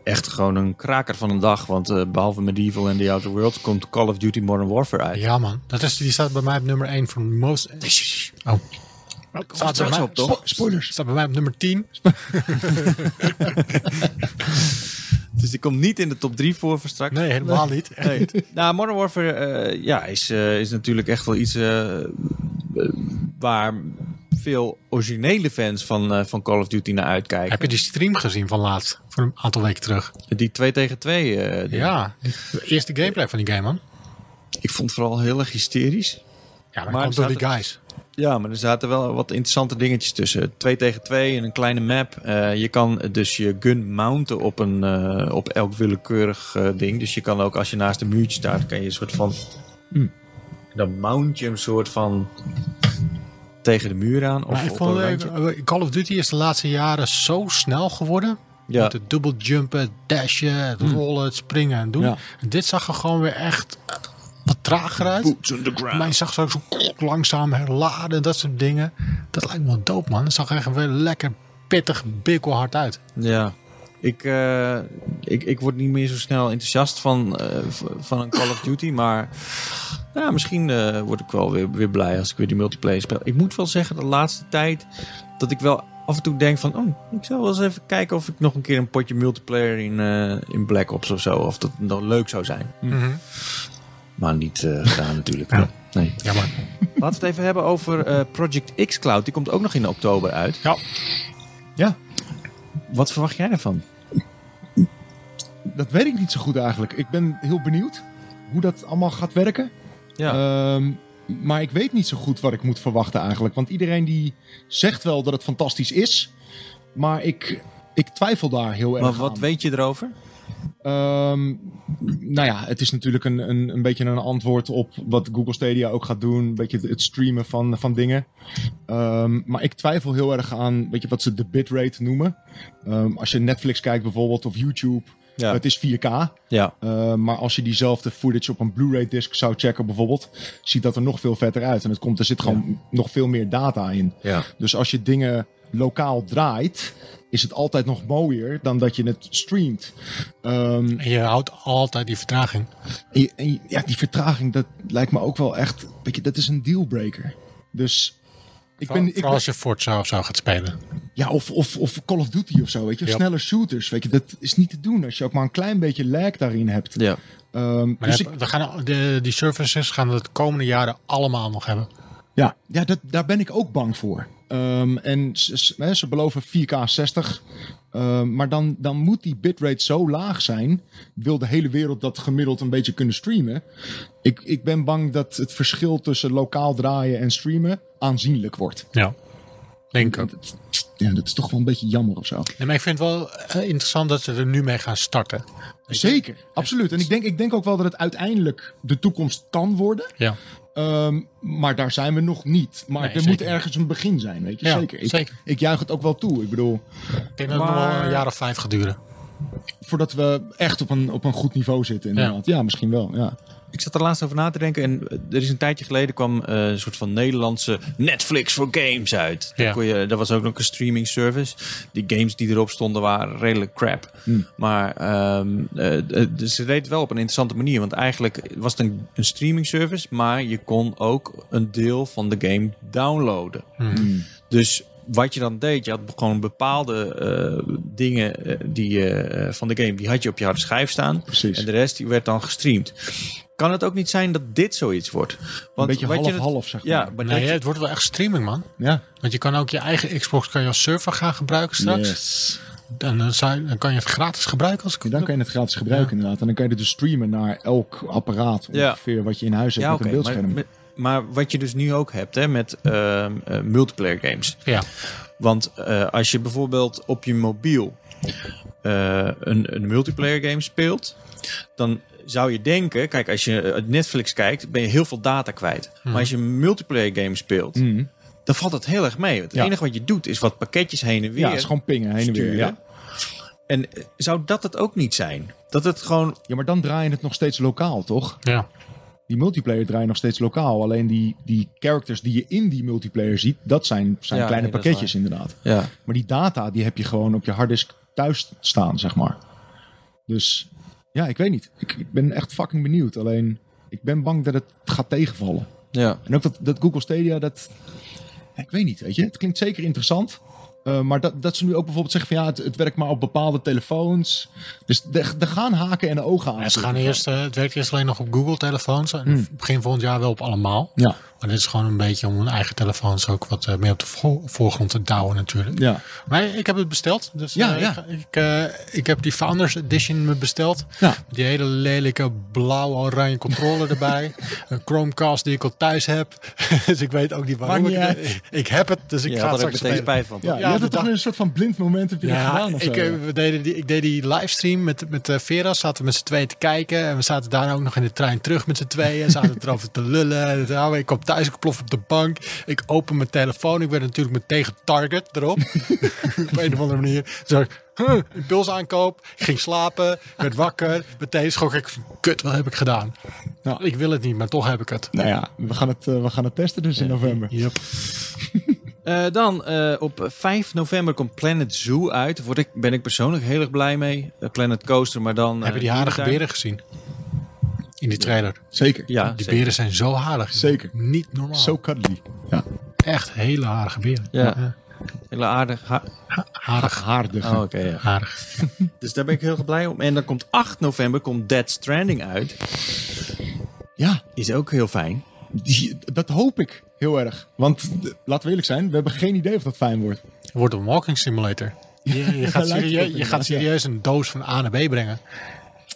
S1: echt gewoon een kraker van een dag. Want eh, behalve Medieval en The Outer Worlds komt Call of Duty Modern Warfare uit.
S3: Ja man, dat is, die staat bij mij op nummer 1 van most... Oh, staat bij, mij,
S1: op, toch?
S2: Spoilers.
S3: staat bij mij op nummer 10.
S1: Dus die komt niet in de top 3 voor voor straks.
S3: Nee, helemaal niet.
S1: Nee. nou, Modern Warfare eh, ja, is, eh, is natuurlijk echt wel iets eh, eh, waar veel originele fans van, eh, van Call of Duty naar uitkijken.
S3: Heb je die stream gezien van laatst? Van een aantal weken terug.
S1: Die 2 tegen 2. eh, die-
S3: Ja, de eerste gameplay van die game, man.
S1: Ik vond het vooral heel erg hysterisch.
S3: Ja,
S1: Maar
S3: maar, dat komt door
S1: staat
S3: die guys.
S1: Ja, maar er zaten wel wat interessante dingetjes tussen. 2 tegen 2 en een kleine map. Eh, je kan dus je gun mounten op, een, eh, op elk willekeurig eh, ding. Dus je kan ook als je naast een muurtje staat, kan je een soort van.
S2: Hmm.
S1: Dan mount je hem soort van tegen de muur aan. Of
S3: Maar ik
S1: op
S3: vond
S1: een
S3: eh,
S1: randje.
S3: Call of Duty is de laatste jaren zo snel geworden.
S1: Ja.
S3: Met het dubbel jumpen, het dashen, het rollen, het springen en doen.
S2: Hmm. Ja.
S3: En dit zag er gewoon weer echt eh, wat trager uit.
S1: Boots on the ground.
S3: Maar je zag zo, zo klok, langzaam herladen, dat soort dingen. Dat lijkt me wel dope, man. Het zag er echt weer lekker pittig, bikkelhard uit.
S1: Ja. Ik, eh, ik, ik word niet meer zo snel enthousiast van, eh, v- van een Call of Duty. Maar ja, misschien eh, word ik wel weer, weer blij als ik weer die multiplayer speel. Ik moet wel zeggen, de laatste tijd dat ik wel af en toe denk van... Oh, ik zou wel eens even kijken of ik nog een keer een potje multiplayer in, eh, in Black Ops of zo... of dat dan leuk zou zijn. Maar niet eh, gedaan natuurlijk.
S3: Ja.
S1: Nee.
S3: Jammer.
S1: Laten we het even hebben over eh, Project X Cloud. Die komt ook nog in oktober uit.
S3: Ja.
S2: Ja.
S1: Wat verwacht jij ervan?
S2: Dat weet ik niet zo goed eigenlijk. Ik ben heel benieuwd hoe dat allemaal gaat werken. Ehm, maar ik weet niet zo goed wat ik moet verwachten eigenlijk. Want iedereen die zegt wel dat het fantastisch is. Maar ik, ik twijfel daar heel erg
S1: maar
S2: aan.
S1: wat weet je erover?
S2: Ehm, nou ja, het is natuurlijk een, een, een beetje een antwoord op wat Google Stadia ook gaat doen. Een beetje het- het streamen van, van dingen. Ehm, maar ik twijfel heel erg aan weet je, wat ze de bitrate noemen. Ehm, als je Netflix kijkt bijvoorbeeld of YouTube.
S1: Ja.
S2: Het is 4K.
S1: Ja.
S2: Eh, maar als je diezelfde footage op een Blu-ray disc zou checken bijvoorbeeld, ziet dat er nog veel vetter uit. En het komt, er zit gewoon nog veel meer data in.
S1: ja.
S2: Dus als je dingen lokaal draait, is het altijd nog mooier dan dat je het streamt. Ehm,
S3: En je houdt altijd die vertraging.
S2: en je- en je- ja, die vertraging, dat lijkt me ook wel echt, weet je, dat is een dealbreaker. Dus ik Ik
S3: Vooral-
S2: ben, ik
S3: vooral als je Forza of zo gaat spelen.
S2: ja, of, of, of Call of Duty of zo, weet je.
S3: Ja.
S2: Snelle shooters, weet je. Dat is niet te doen als je ook maar een klein beetje lag daarin hebt.
S1: Ja.
S2: Ehm,
S3: Maar
S2: dus
S3: je
S2: ik,
S3: hebt- we gaan, de, die services gaan we het komende jaren allemaal nog hebben.
S2: ja, ja dat, daar ben ik ook bang voor. Ehm, en ze, ze- hè, ze beloven 4K 60. Ehm, maar dan, dan moet die bitrate zo laag zijn. Wil de hele wereld dat gemiddeld een beetje kunnen streamen? Ik, ik ben bang dat het verschil tussen lokaal draaien en streamen aanzienlijk wordt.
S3: Ja. Denk ik ook.
S2: Dat, ja, dat is toch wel een beetje jammer of zo.
S3: Nee, maar ik vind het wel eh, interessant dat ze er nu mee gaan starten.
S2: Zeker, absoluut. En ik denk, ik denk ook wel dat het uiteindelijk de toekomst kan worden.
S3: Ja,
S2: Ehm, maar daar zijn we nog niet. Maar
S3: Nee,
S2: er
S3: zeker
S2: moet
S3: niet.
S2: ergens een begin zijn, weet je?
S3: Ja,
S2: zeker. Ik,
S3: zeker.
S2: ik juich het ook wel toe. Ik bedoel,
S3: ik denk dat het nog wel
S1: Maar-
S3: een jaar of vijf gaat duren.
S2: voordat we echt op een, op een goed niveau zitten inderdaad. Ja, misschien wel. Ja.
S1: Ik zat er laatst over na te denken en eh, er is een tijdje geleden kwam eh, een soort van Nederlandse Netflix voor games uit.
S3: Ja.
S1: Daar Kon je, dat was ook nog een streaming service. Die games die erop stonden waren redelijk crap. Maar ehm, eh, eh, dus ze deed het wel op een interessante manier. Want eigenlijk was het een, een streaming service, maar je kon ook een deel van de game downloaden. Dus wat je dan deed, je had gewoon bepaalde eh, dingen eh, die, je, eh, van de game, die had je op je harde schijf staan.
S2: Precies.
S1: En de rest die werd dan gestreamd. Kan het ook niet zijn dat dit zoiets wordt? Want
S2: beetje
S1: wat je het-
S2: half-half, zeg maar.
S1: Ja, maar
S3: Nee,
S1: dat je-
S3: het wordt wel echt streaming, man.
S2: Ja.
S3: Want je kan ook je eigen Xbox kan je als server gaan gebruiken straks.
S2: Yes.
S3: Dan, eh, zou- dan kan je het gratis gebruiken als ik
S2: En dan kan je het gratis gebruiken inderdaad. En dan kan je het dus streamen naar elk apparaat
S1: Ja.
S2: ongeveer wat je in huis hebt
S1: ja,
S2: met
S1: oké.
S2: een
S1: maar,
S2: beeldscherm.
S1: maar- maar wat je dus nu ook hebt hè, met ehm, eh, multiplayer games.
S3: Ja,
S1: Want eh, als je bijvoorbeeld op je mobiel eh, een, een multiplayer game speelt, dan zou je denken, kijk, als je eh, Netflix kijkt, ben je heel veel data kwijt.
S3: Hmm.
S1: Maar als je een multiplayer game speelt,
S2: Mhm.
S1: dan valt dat heel erg mee. Het
S2: Ja.
S1: enige wat je doet is wat pakketjes heen en weer.
S2: Ja, het is gewoon pingen heen en weer.
S1: sturen.
S2: Ja.
S1: En eh, zou dat het ook niet zijn? Dat het gewoon.
S2: ja, maar dan draai je het nog steeds lokaal, toch?
S3: ja.
S2: die multiplayer draai je nog steeds lokaal. Alleen die, die characters die je in die multiplayer ziet, dat zijn, zijn
S1: Ja,
S2: kleine
S1: nee, dat is
S2: pakketjes inderdaad.
S1: Ja.
S2: Maar die data die heb je gewoon op je harddisk thuis staan, zeg maar. Dus ja, ik weet niet. Ik, ik ben echt fucking benieuwd. Alleen ik ben bang dat het gaat tegenvallen.
S1: ja.
S2: En ook dat, dat Google Stadia, dat... ja, Ik weet niet, weet je. Het klinkt zeker interessant. Eh, maar dat, dat ze nu ook bijvoorbeeld zeggen van ja, het, het werkt maar op bepaalde telefoons. Dus er er gaan haken en ogen aan.
S3: Ja, ze
S2: zitten.
S3: gaan eerst, eh, het werkt eerst alleen nog op Google-telefoons. En begin volgend jaar wel op allemaal.
S2: Hmm. Ja,
S3: Maar dit is gewoon een beetje om hun eigen telefoons ook wat eh, meer op de vo- voorgrond te douwen natuurlijk.
S2: ja.
S3: Maar ik heb het besteld. Dus
S2: Ja,
S3: eh,
S2: ja.
S3: Ik, ga- ik, eh, ik heb die Founders Edition me besteld.
S2: Ja.
S3: Die hele lelijke blauw-oranje controller erbij. Een Chromecast die ik al thuis heb. dus ik weet ook niet waarom
S2: Maakt
S3: ik
S2: niet
S3: het- Ik heb het, dus ik
S1: Je
S3: ga
S1: had
S3: het
S1: er ook
S3: straks
S1: meteen
S3: spelen.
S1: spijt van.
S2: Ja,
S1: toch?
S2: je
S3: Ja,
S2: had
S3: de
S2: het toch
S3: dag-
S2: een soort van blind moment heb je dat
S3: Ja,
S2: gedaan of zo?
S3: ik, eh, we deden die, ik deed die livestream met, met eh, Vera. Zaten we met z'n tweeën te kijken. En we zaten daarna ook nog in de trein terug met z'n tweeën. Zaten erover te lullen. En het- ah, ik kwam thuis, ik plof op de bank. Ik open mijn telefoon. Ik werd natuurlijk meteen getarget erop. op een of andere manier. Zo, huh, impuls aankoop. Ik ging slapen. Werd wakker. Meteen schrok ik. van, Kut, wat heb ik gedaan? Nou,
S2: Ja.
S3: Ik wil het niet, maar toch heb ik het.
S2: nou ja, we gaan het, eh, we gaan het testen dus in november.
S3: Yep.
S1: Eh, dan eh, op 5 november komt Planet Zoo uit. Daar word ik, ben ik persoonlijk heel erg blij mee. Eh, Planet Coaster, maar dan. eh,
S3: Heb je die harige
S1: dierentuin.
S3: beren gezien? In die trailer.
S2: Zeker.
S1: Ja,
S3: die
S1: zeker.
S3: beren zijn zo harig.
S2: Zeker.
S3: Niet normaal.
S2: Zo cuddly. Ja.
S3: Echt hele harige beren.
S1: Ja. Hele aardig. ha-
S3: Harig.
S2: Aardig.
S1: oh, oké, ja.
S3: Harig.
S1: Dus daar ben ik heel erg blij om. En dan komt 8 november komt Dead Stranding uit.
S2: Ja,
S1: Is ook heel fijn.
S2: die, dat hoop ik heel erg. Want eh, laten we eerlijk zijn, we hebben geen idee of dat fijn wordt.
S3: Het wordt een walking simulator. Je, je, gaat,
S2: lijkt het
S3: serieus,
S2: op,
S3: je gaat
S2: ja.
S3: serieus een doos van A naar B brengen.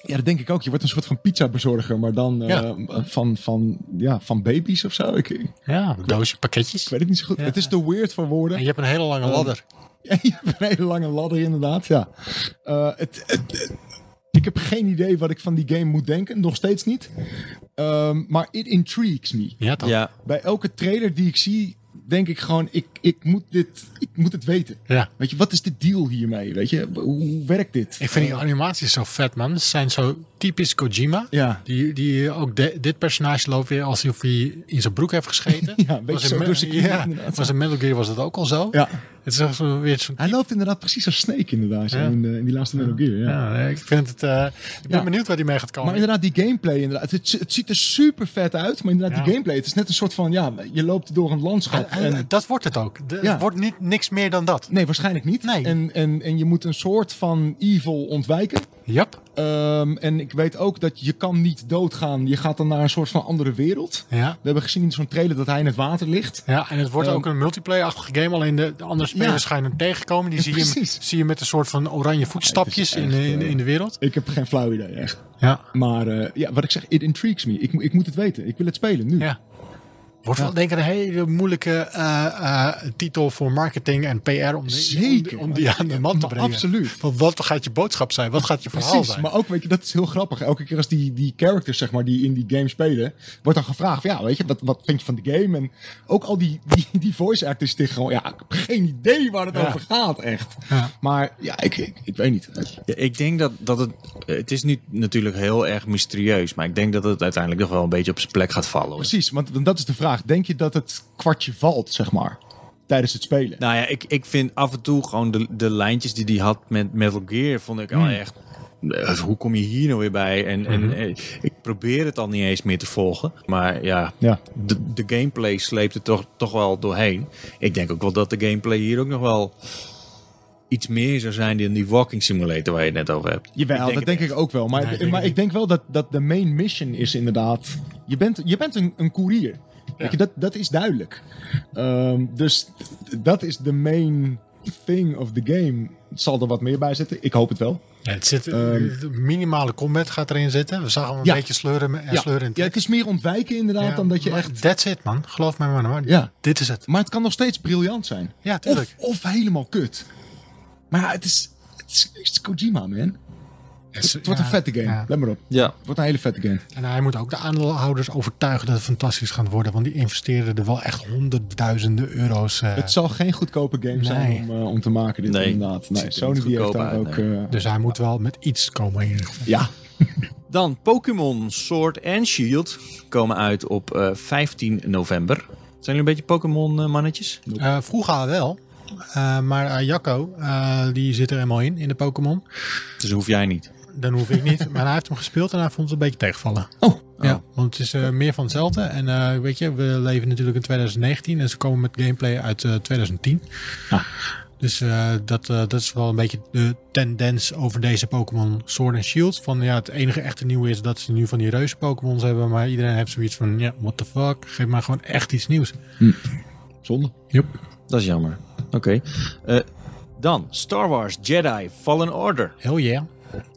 S2: Ja, dat denk ik ook. Je wordt een soort van pizzabezorger, maar dan eh,
S3: Ja.
S2: van, van, ja, van baby's of zo. Ik, ik
S3: Ja, een doosje pakketjes.
S2: weet het niet zo goed. Het is te weird voor woorden.
S3: En je hebt een hele lange ladder.
S2: En je hebt een hele lange ladder inderdaad, ja. Eh, het, het- het- ik heb geen idee wat ik van die game moet denken, nog steeds niet. Ehm, maar it intrigues me.
S3: Ja, toch?
S1: Ja.
S2: Bij elke trailer die ik zie, denk ik gewoon, ik, ik, moet, dit, ik moet het weten.
S3: Ja.
S2: Weet je, wat is de deal hiermee? Weet je, hoe, hoe werkt dit?
S3: Ik vind die animaties zo vet, man. Ze zijn zo typisch Kojima.
S2: Ja.
S3: Die, die ook de- dit personage loopt weer alsof hij in zijn broek heeft gescheten.
S2: Ja, een beetje
S3: Was in
S2: zo
S3: Me-
S2: door zijn knieën
S3: ja,
S2: inderdaad.
S3: Was in Metal Gear was dat ook al zo.
S2: Ja.
S3: Het is echt zo- weer zo'n...
S2: Hij loopt inderdaad precies als Snake inderdaad, zo
S3: Ja.
S2: in, de- in die laatste Metal Gear. Ja.
S3: Ja, ik vind het... eh, ik ben
S2: Ja.
S3: benieuwd waar die mee gaat komen.
S2: Maar inderdaad, die gameplay, inderdaad, het, het ziet er super vet uit. Maar inderdaad,
S3: Ja.
S2: die gameplay, het is net een soort van, ja, je loopt door een landschap.
S3: En,
S2: En,
S3: dat wordt het ook. De-
S2: Ja.
S3: Het wordt niet, niks meer dan dat.
S2: nee, waarschijnlijk niet.
S3: Nee.
S2: En, en, en je moet een soort van evil ontwijken.
S3: Yep.
S2: Ehm, en ik weet ook dat je kan niet doodgaan. Je gaat dan naar een soort van andere wereld.
S3: Ja.
S2: We hebben gezien in zo'n trailer dat hij in het water ligt.
S3: Ja, en het wordt
S2: Ehm,
S3: ook een multiplayer-achtige game. Alleen de, de andere spelers
S2: Ja.
S3: ga je hem tegenkomen. Die zie je, hem-
S2: precies.
S3: zie je met een soort van oranje voetstapjes
S2: Ja, het
S3: in,
S2: is echt,
S3: in,
S2: eh,
S3: in de wereld.
S2: Ik heb geen flauw idee, echt.
S3: Ja.
S2: Maar eh, ja, wat ik zeg, it intrigues me. Ik, mo- ik moet het weten. Ik wil het spelen, nu.
S3: ja. Wordt wel denk ik een hele moeilijke eh, eh, titel voor marketing en PR. Om die,
S2: Zeker.
S3: Om, om die aan de man te
S2: Maar
S3: brengen.
S2: absoluut.
S3: Want wat gaat je boodschap zijn? Wat gaat je verhaal
S2: Precies,
S3: zijn?
S2: maar ook, weet je, dat is heel grappig. Elke keer als die, die characters, zeg maar, die in die game spelen, wordt dan gevraagd, van, ja, weet je, wat, wat vind je van de game? En ook al die, die, die voice actors tegen gewoon, ja, ik heb geen idee waar het
S3: Ja.
S2: over gaat, echt.
S3: Ja.
S2: Maar ja, ik, ik, ik weet niet.
S1: Ja, ik denk dat, dat het. eh, Het is niet natuurlijk heel erg mysterieus. Maar ik denk dat het uiteindelijk nog wel een beetje op zijn plek gaat vallen. hoor.
S2: Precies, want want dat is de vraag. Denk je dat het kwartje valt, zeg maar, tijdens het spelen?
S1: Nou ja, ik, ik vind af en toe gewoon de, de lijntjes die hij had met Metal Gear. Vond ik al echt. eh, Hoe kom je hier nou weer bij? En, en eh, ik probeer het al niet eens meer te volgen. Maar ja,
S2: Ja.
S1: de, de gameplay sleept er toch, toch wel doorheen. Ik denk ook wel dat de gameplay hier ook nog wel iets meer zou zijn dan die walking simulator waar je het net over hebt.
S2: Jawel, dat denk ik ook wel. Maar,
S3: Nee, ik denk
S2: maar
S3: het
S2: ik denk wel dat, dat de main mission is inderdaad... Je bent, je bent een, een koerier. Weet je, dat, dat is duidelijk. Ehm, dus d- dat is de main thing of the game. Zal er wat meer bij zitten? Ik hoop het wel.
S3: Ja, het zit,
S2: Ehm,
S3: de minimale combat gaat erin zitten. We zagen hem een
S2: Ja.
S3: beetje sleuren en
S2: ja.
S3: sleuren. in
S2: ja, het is meer ontwijken inderdaad dan dat je
S3: maar
S2: echt...
S3: That's it, man. Geloof mij maar. maar
S2: Ja.
S3: Dit is het.
S2: Maar het kan nog steeds briljant zijn.
S3: Ja, tuurlijk.
S2: Of, of helemaal kut. Maar ja, het is, het is, het is Kojima, man. Het wordt een vette game.
S3: Ja.
S2: Let maar op.
S1: Ja,
S2: Het wordt een hele vette game.
S3: En hij moet ook de aandeelhouders overtuigen dat het fantastisch gaat worden. Want die investeren er wel echt honderdduizenden euro's. eh,
S2: Het zal geen goedkope game zijn om, eh, om te maken, dit
S1: Nee,
S2: inderdaad.
S1: het ziet
S2: Nee,
S1: er
S2: Sony
S1: niet
S2: die heeft
S1: goedkoop
S2: daar
S1: uit,
S2: ook...
S1: nee.
S2: eh,
S3: Dus hij moet wel met iets komen in ieder geval.
S2: ja,
S1: Dan Pokémon Sword en Shield komen uit op eh, 15 november. Zijn jullie een beetje Pokémon eh, mannetjes?
S3: Eh, vroeger wel. Eh, maar eh, Jacco, eh, die zit er helemaal in, in de Pokémon.
S1: Dus hoef jij niet.
S3: Dan hoef ik niet. maar hij heeft hem gespeeld en hij vond het een beetje tegenvallen.
S2: Oh.
S3: Ja, want het is eh, meer van hetzelfde. En eh, weet je, we leven natuurlijk in 2019 en ze komen met gameplay uit eh, 2010.
S2: Ah.
S3: Dus eh, dat, eh, dat is wel een beetje de tendens over deze Pokémon Sword en Shield. Van ja, het enige echte nieuwe is dat ze nu van die reuze Pokémons hebben. Maar iedereen heeft zoiets van, ja, what the fuck. Geef maar gewoon echt iets nieuws.
S2: zonde.
S3: Yep.
S1: Dat is jammer. Oké. Eh, dan Star Wars Jedi Fallen Order.
S3: Heel yeah.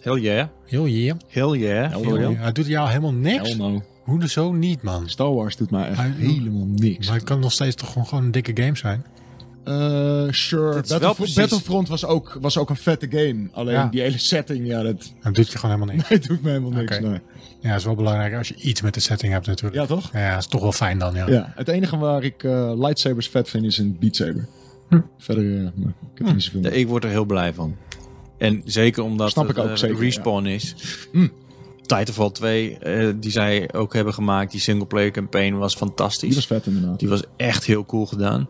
S1: Hell yeah.
S3: Heel yeah.
S1: Hell yeah.
S2: Hell
S1: Florian.
S2: yeah.
S3: Hij doet jou helemaal niks.
S2: no.
S3: Hoe de zo niet, man.
S2: Star Wars doet mij echt
S3: Hij-
S2: helemaal niks.
S3: Maar het kan nog steeds toch gewoon, gewoon een dikke game zijn.
S2: Eh, sure,
S1: Dit is
S2: Battlef-
S1: wel precies-
S2: Battlefront was ook, was ook een vette game. Alleen
S3: Ja.
S2: die hele setting, ja, dat
S3: Hij Nou, doet je gewoon helemaal niks.
S2: het doet me helemaal niks.
S3: Oké.
S2: nee.
S3: Ja, is wel belangrijk als je iets met de setting hebt natuurlijk.
S2: Ja, toch?
S3: Ja, is toch wel fijn dan, ja.
S2: Ja, het enige waar ik eh, lightsabers vet vind is een Beat Saber. Verder, eh, nee, ik heb er niet zoveel
S1: Ja,
S2: mee.
S1: ik word er heel blij van. En zeker omdat
S2: Snap
S1: het
S2: ik ook,
S1: eh,
S2: zeker,
S1: respawn is. Hm. Titanfall 2, eh, die zij ook hebben gemaakt, die singleplayer campaign was fantastisch.
S2: Die was vet inderdaad.
S1: Die was echt heel cool gedaan.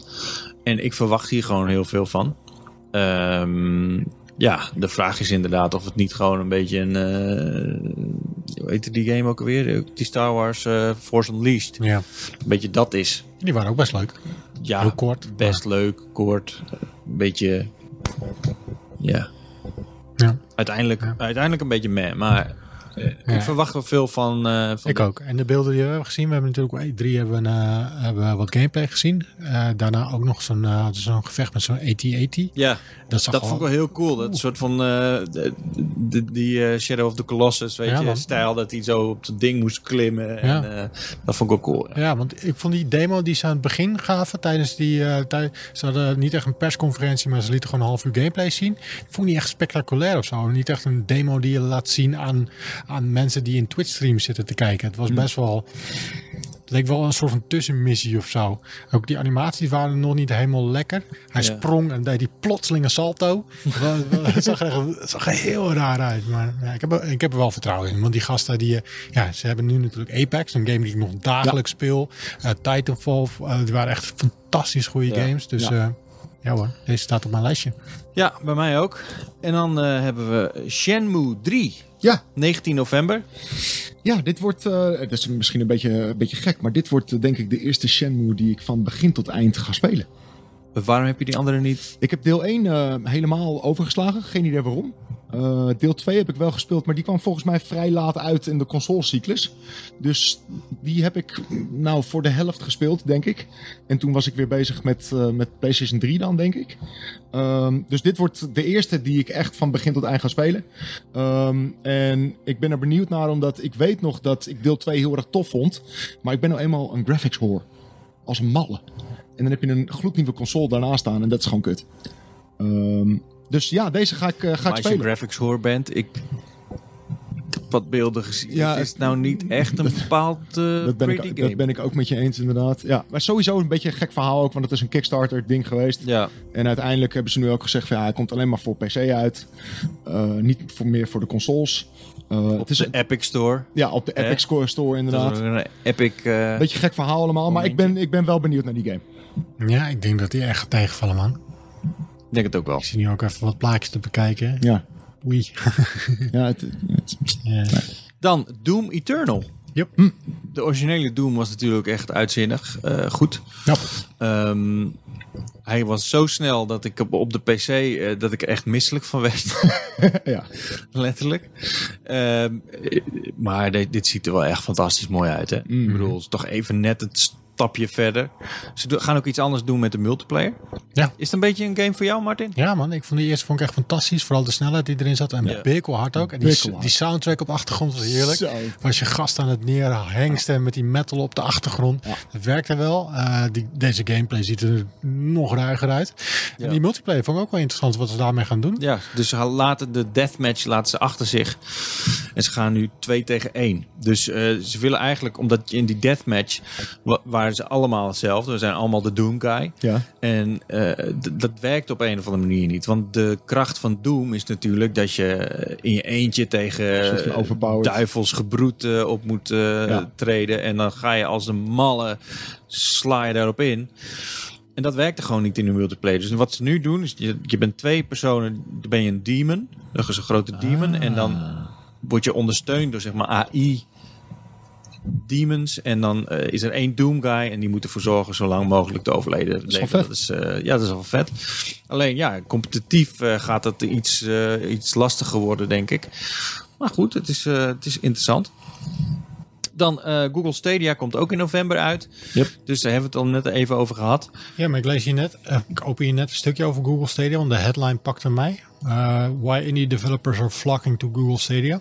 S1: En ik verwacht hier gewoon heel veel van. Ehm, ja, de vraag is inderdaad of het niet gewoon een beetje een. eh, hoe heette die game ook alweer? Die Star Wars eh, Force Unleashed.
S3: Ja.
S1: Een beetje dat is.
S3: Die waren ook best leuk.
S1: Ja,
S3: Heel kort.
S1: best leuk, kort. Een beetje. Ja.
S3: Ja,
S1: Uiteindelijk,
S3: Ja.
S1: uiteindelijk een beetje meh. Maar eh,
S3: Ja.
S1: ik verwacht wel veel van. eh, van
S3: ik ook. En de beelden die we hebben gezien, we hebben natuurlijk hey, drie hebben, eh, hebben we wat gameplay gezien. Eh, daarna ook nog zo'n eh, zo'n gevecht met zo'n AT-AT.
S1: Ja,
S3: Dat zag
S1: dat vond ik wel heel cool. Dat soort van eh, de- de- die eh, Shadow of the Colossus, weet
S3: Ja,
S1: je,
S3: man.
S1: stijl dat hij zo op dat ding moest klimmen. En, eh, dat vond ik ook cool.
S3: Ja, want ik vond die demo die ze aan het begin gaven tijdens die... eh, tij- ze hadden niet echt een persconferentie, maar ze lieten gewoon een half uur gameplay zien. Ik vond die echt spectaculair of zo. Niet echt een demo die je Mm. laat zien aan, aan mensen die in Twitch stream zitten te kijken. Het was best wel... leek wel een soort van tussenmissie of zo. Ook die animaties waren nog niet helemaal lekker. Hij
S1: Ja.
S3: sprong en deed die plotselinge salto. Wel- wel- Het zag, er- het zag er heel raar uit. Maar ja, ik, heb, er- ik heb er wel vertrouwen in. Want die gasten, die, eh, ja, ze hebben nu natuurlijk Apex. Een game die ik nog dagelijks speel. Eh, Titanfall, eh, die waren echt fantastisch goede
S1: Ja.
S3: games. Dus
S2: Ja.
S3: ja. ja hoor, deze staat op mijn lijstje.
S1: Ja, bij mij ook. En dan eh, hebben we Shenmue 3,
S2: Ja,
S1: 19 november.
S2: ja dit wordt. eh, dat is misschien een beetje, een beetje gek. Maar dit wordt eh, denk ik de eerste Shenmue die ik van begin tot eind ga spelen.
S1: Waarom heb je die andere niet?
S2: Ik heb deel 1 eh, helemaal overgeslagen. Geen idee waarom. Eh, deel 2 heb ik wel gespeeld, maar die kwam volgens mij vrij laat uit in de consolecyclus. Dus die heb ik mm, nou voor de helft gespeeld, denk ik. En toen was ik weer bezig met, eh, met PlayStation 3 dan, denk ik. Ehm, dus dit wordt de eerste die ik echt van begin tot eind ga spelen. Ehm, en ik ben er benieuwd naar, omdat ik weet nog dat ik deel 2 heel erg tof vond. Maar ik ben nou eenmaal een graphics whore. Als een malle. En dan heb je een gloednieuwe console daarnaast staan en dat is gewoon kut. Ehm, dus ja, deze ga ik, eh, ga ik
S1: Maar als je
S2: spelen.
S1: graphics hoor bent, ik heb wat beelden gezien.
S2: Ja,
S1: het is nou niet echt een bepaald eh
S2: Dat ben,
S1: pretty
S2: ik,
S1: game.
S2: dat ben ik ook met je eens, inderdaad. Ja, maar sowieso een beetje een gek verhaal ook, want het is een Kickstarter-ding geweest.
S1: Ja,
S2: En uiteindelijk hebben ze nu ook gezegd: van, ja, hij komt alleen maar voor PC uit. Eh, niet voor meer voor de consoles. Eh,
S1: op
S2: het is
S1: de Epic Store.
S2: ja, op de
S1: Hè?
S2: Epic Score Store,
S1: Dat
S2: inderdaad.
S1: is ook een Epic... eh,
S2: Beetje gek verhaal allemaal, maar ik ben, ik ben wel benieuwd naar die game.
S3: Ja, ik denk dat die echt gaat tegenvallen, man.
S1: Ik denk het ook wel.
S3: Ik zie nu ook even wat plaatjes te bekijken.
S2: Ja,
S3: Oei.
S2: ja het, het-
S3: Ja.
S1: Dan Doom Eternal. Hm.
S3: Yep.
S1: De originele Doom was natuurlijk echt uitzinnig. eh, goed.
S3: Ja.
S1: Ehm, hij was zo snel dat ik op, op de PC eh, dat ik er echt misselijk van werd.
S2: ja.
S1: Letterlijk. Ehm, eh, maar dit, dit ziet er wel echt fantastisch mooi uit. Hè? Ik bedoel, het is toch even net het stapje verder. Ze do- gaan ook iets anders doen met de multiplayer.
S3: Ja.
S1: Is het een beetje een game voor jou, Martin?
S3: Ja, man. Ik vond die eerste vond ik echt fantastisch. Vooral de snelheid die erin zat. En
S1: Ja.
S3: bikkelhard ook. En die,
S2: Bikkelhard.
S3: die soundtrack op de achtergrond was heerlijk.
S2: Zo.
S3: Was je gast aan het neerhengsten en met die metal op de achtergrond. Dat werkte wel. Eh, die, deze gameplay ziet er nog ruiger uit.
S1: Ja.
S3: En die multiplayer vond ik ook wel interessant wat ze daarmee gaan doen.
S1: Ja, dus ze gaan laten de deathmatch laten ze achter zich. En ze gaan nu 2 tegen 1. Dus eh, ze willen eigenlijk, omdat je in die deathmatch wa- waren ze allemaal hetzelfde. We zijn allemaal de Doom Guy.
S2: Ja.
S1: En eh, d- dat werkt op een of andere manier niet. Want de kracht van Doom is natuurlijk dat je eh, in je eentje tegen
S2: soort van overpowered.
S1: eh, duivels gebroed eh, op moet eh, treden. En dan ga je als een malle, sla je daarop in. En dat werkte gewoon niet in de multiplayer. Dus wat ze nu doen, is je, je bent twee personen, dan ben je een demon. Dat is een grote demon. En dan
S2: Ah.
S1: word je ondersteund door zeg maar AI demons. En dan eh, is er één Doom Guy. En die moet ervoor zorgen zo lang mogelijk te overleden. Dat
S2: is wel vet.
S1: Dat is, eh, ja, dat is wel vet. Alleen ja, competitief eh, gaat dat iets, eh, iets lastiger worden, denk ik. Maar goed, het is, eh, het is interessant. Dan eh, Google Stadia komt ook in november uit.
S2: Yep.
S1: Dus daar hebben we het al net even over gehad.
S3: Ja, maar ik lees hier net, eh, ik open hier net een stukje over Google Stadia, want de headline pakte mij. Eh, why indie developers are flocking to Google Stadia.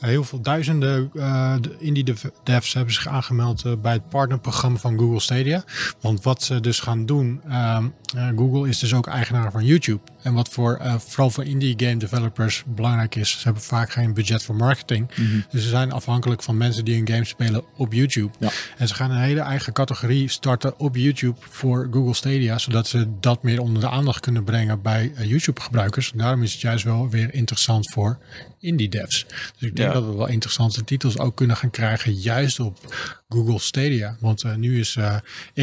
S3: Eh, heel veel duizenden eh, de indie dev- devs hebben zich aangemeld eh, bij het partnerprogramma van Google Stadia. Want wat ze dus gaan doen, ehm, eh, Google is dus ook eigenaar van YouTube. En wat voor, eh, vooral voor indie game developers belangrijk is, ze hebben vaak geen budget voor marketing. Dus ze zijn afhankelijk van mensen die hun game spelen op YouTube.
S2: Ja.
S3: En ze gaan een hele eigen categorie starten op YouTube voor Google Stadia, zodat ze dat meer onder de aandacht kunnen brengen bij eh, YouTube-gebruikers. Daarom is het juist wel weer interessant voor indie devs. Dus ik denk
S1: Ja.
S3: dat we wel interessante titels ook kunnen gaan krijgen, juist op Google Stadia. Want eh, nu is eh,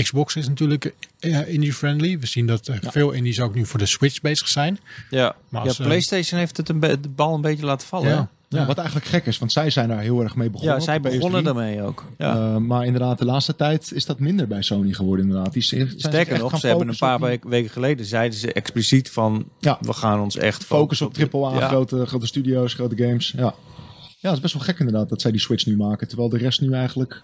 S3: Xbox is natuurlijk eh, indie-friendly. We zien dat eh, veel indies ook nu voor de Switch bezig zijn.
S1: Ja,
S3: Maar
S1: ja
S3: als, eh,
S1: PlayStation heeft het een be- de bal een beetje laten vallen. hè?
S2: Ja, wat eigenlijk gek is, want zij zijn daar heel erg mee begonnen.
S1: ja zij
S2: op de PS3.
S3: E
S1: begonnen daarmee ook. Ja.
S2: Eh, maar inderdaad, de laatste tijd is dat minder bij Sony geworden, inderdaad. Die zijn- zijn zich
S1: Sterker
S2: echt
S1: nog,
S2: gaan
S1: ze hebben een
S2: focussen
S1: paar
S2: op die-
S1: weken- weken geleden zeiden ze expliciet van
S2: Ja.
S1: we gaan ons echt
S2: Focus
S1: focussen
S2: op AAA,
S1: ja.
S2: grote, grote studio's, grote games. Ja. ja, dat is best wel gek inderdaad dat zij die Switch nu maken. Terwijl de rest nu eigenlijk...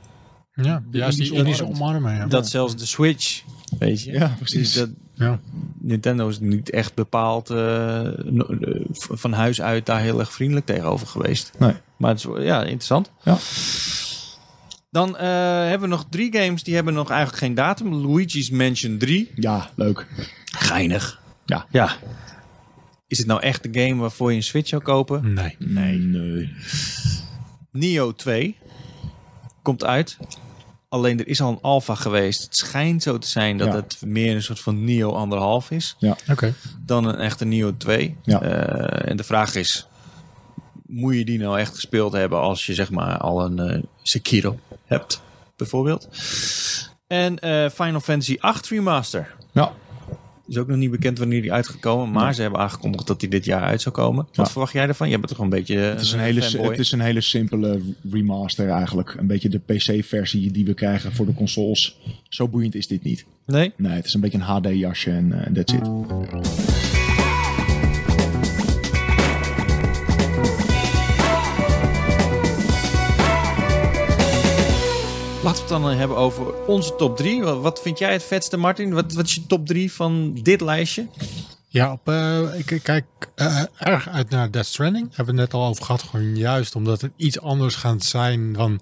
S3: Ja, juist die indies
S2: omarmd.
S3: omarmen. Ja.
S1: Dat zelfs de Switch, weet je.
S2: Ja, precies.
S1: Dus dat,
S3: ja.
S1: Nintendo is niet echt bepaald eh, no- eh, v- van huis uit daar heel erg vriendelijk tegenover geweest.
S2: Nee.
S1: Maar het is wel- ja, interessant.
S2: Ja.
S1: Dan eh, hebben we nog drie games die hebben nog eigenlijk geen datum. Luigi's Mansion 3.
S2: Ja, leuk.
S1: Geinig.
S2: Ja.
S1: ja. Is het nou echt de game waarvoor je een Switch zou kopen?
S3: Nee.
S2: Nee. nee.
S1: Nio 2 komt uit. Alleen er is al een alfa geweest. Het schijnt zo te zijn dat
S2: Ja.
S1: het meer een soort van Neo anderhalf is
S3: Oké.
S1: dan een echte Neo 2.
S2: Ja.
S1: Eh, en de vraag is, moet je die nou echt gespeeld hebben als je zeg maar al een eh, Sekiro hebt, bijvoorbeeld? En eh, Final Fantasy 8 Remaster.
S2: Ja.
S1: Is ook nog niet bekend wanneer die uitgekomen, maar ze hebben aangekondigd dat die dit jaar uit zou komen. Wat
S2: Ja.
S1: verwacht jij ervan? Je bent toch een beetje eh,
S2: Het is, een hele,
S1: fanboy?
S2: het is een hele simpele remaster eigenlijk. Een beetje de PC-versie die we krijgen voor de consoles. Zo boeiend is dit niet.
S1: Nee?
S2: Nee, het is een beetje een HD-jasje en eh, that's it.
S1: Laten we het dan hebben over onze top 3. Wat vind jij het vetste, Martin? Wat, wat is je top 3 van dit lijstje?
S3: Ja, op, eh, ik ik kijk eh, erg uit naar Death Stranding. Daar hebben we het net al over gehad. Gewoon juist omdat het iets anders gaat zijn dan...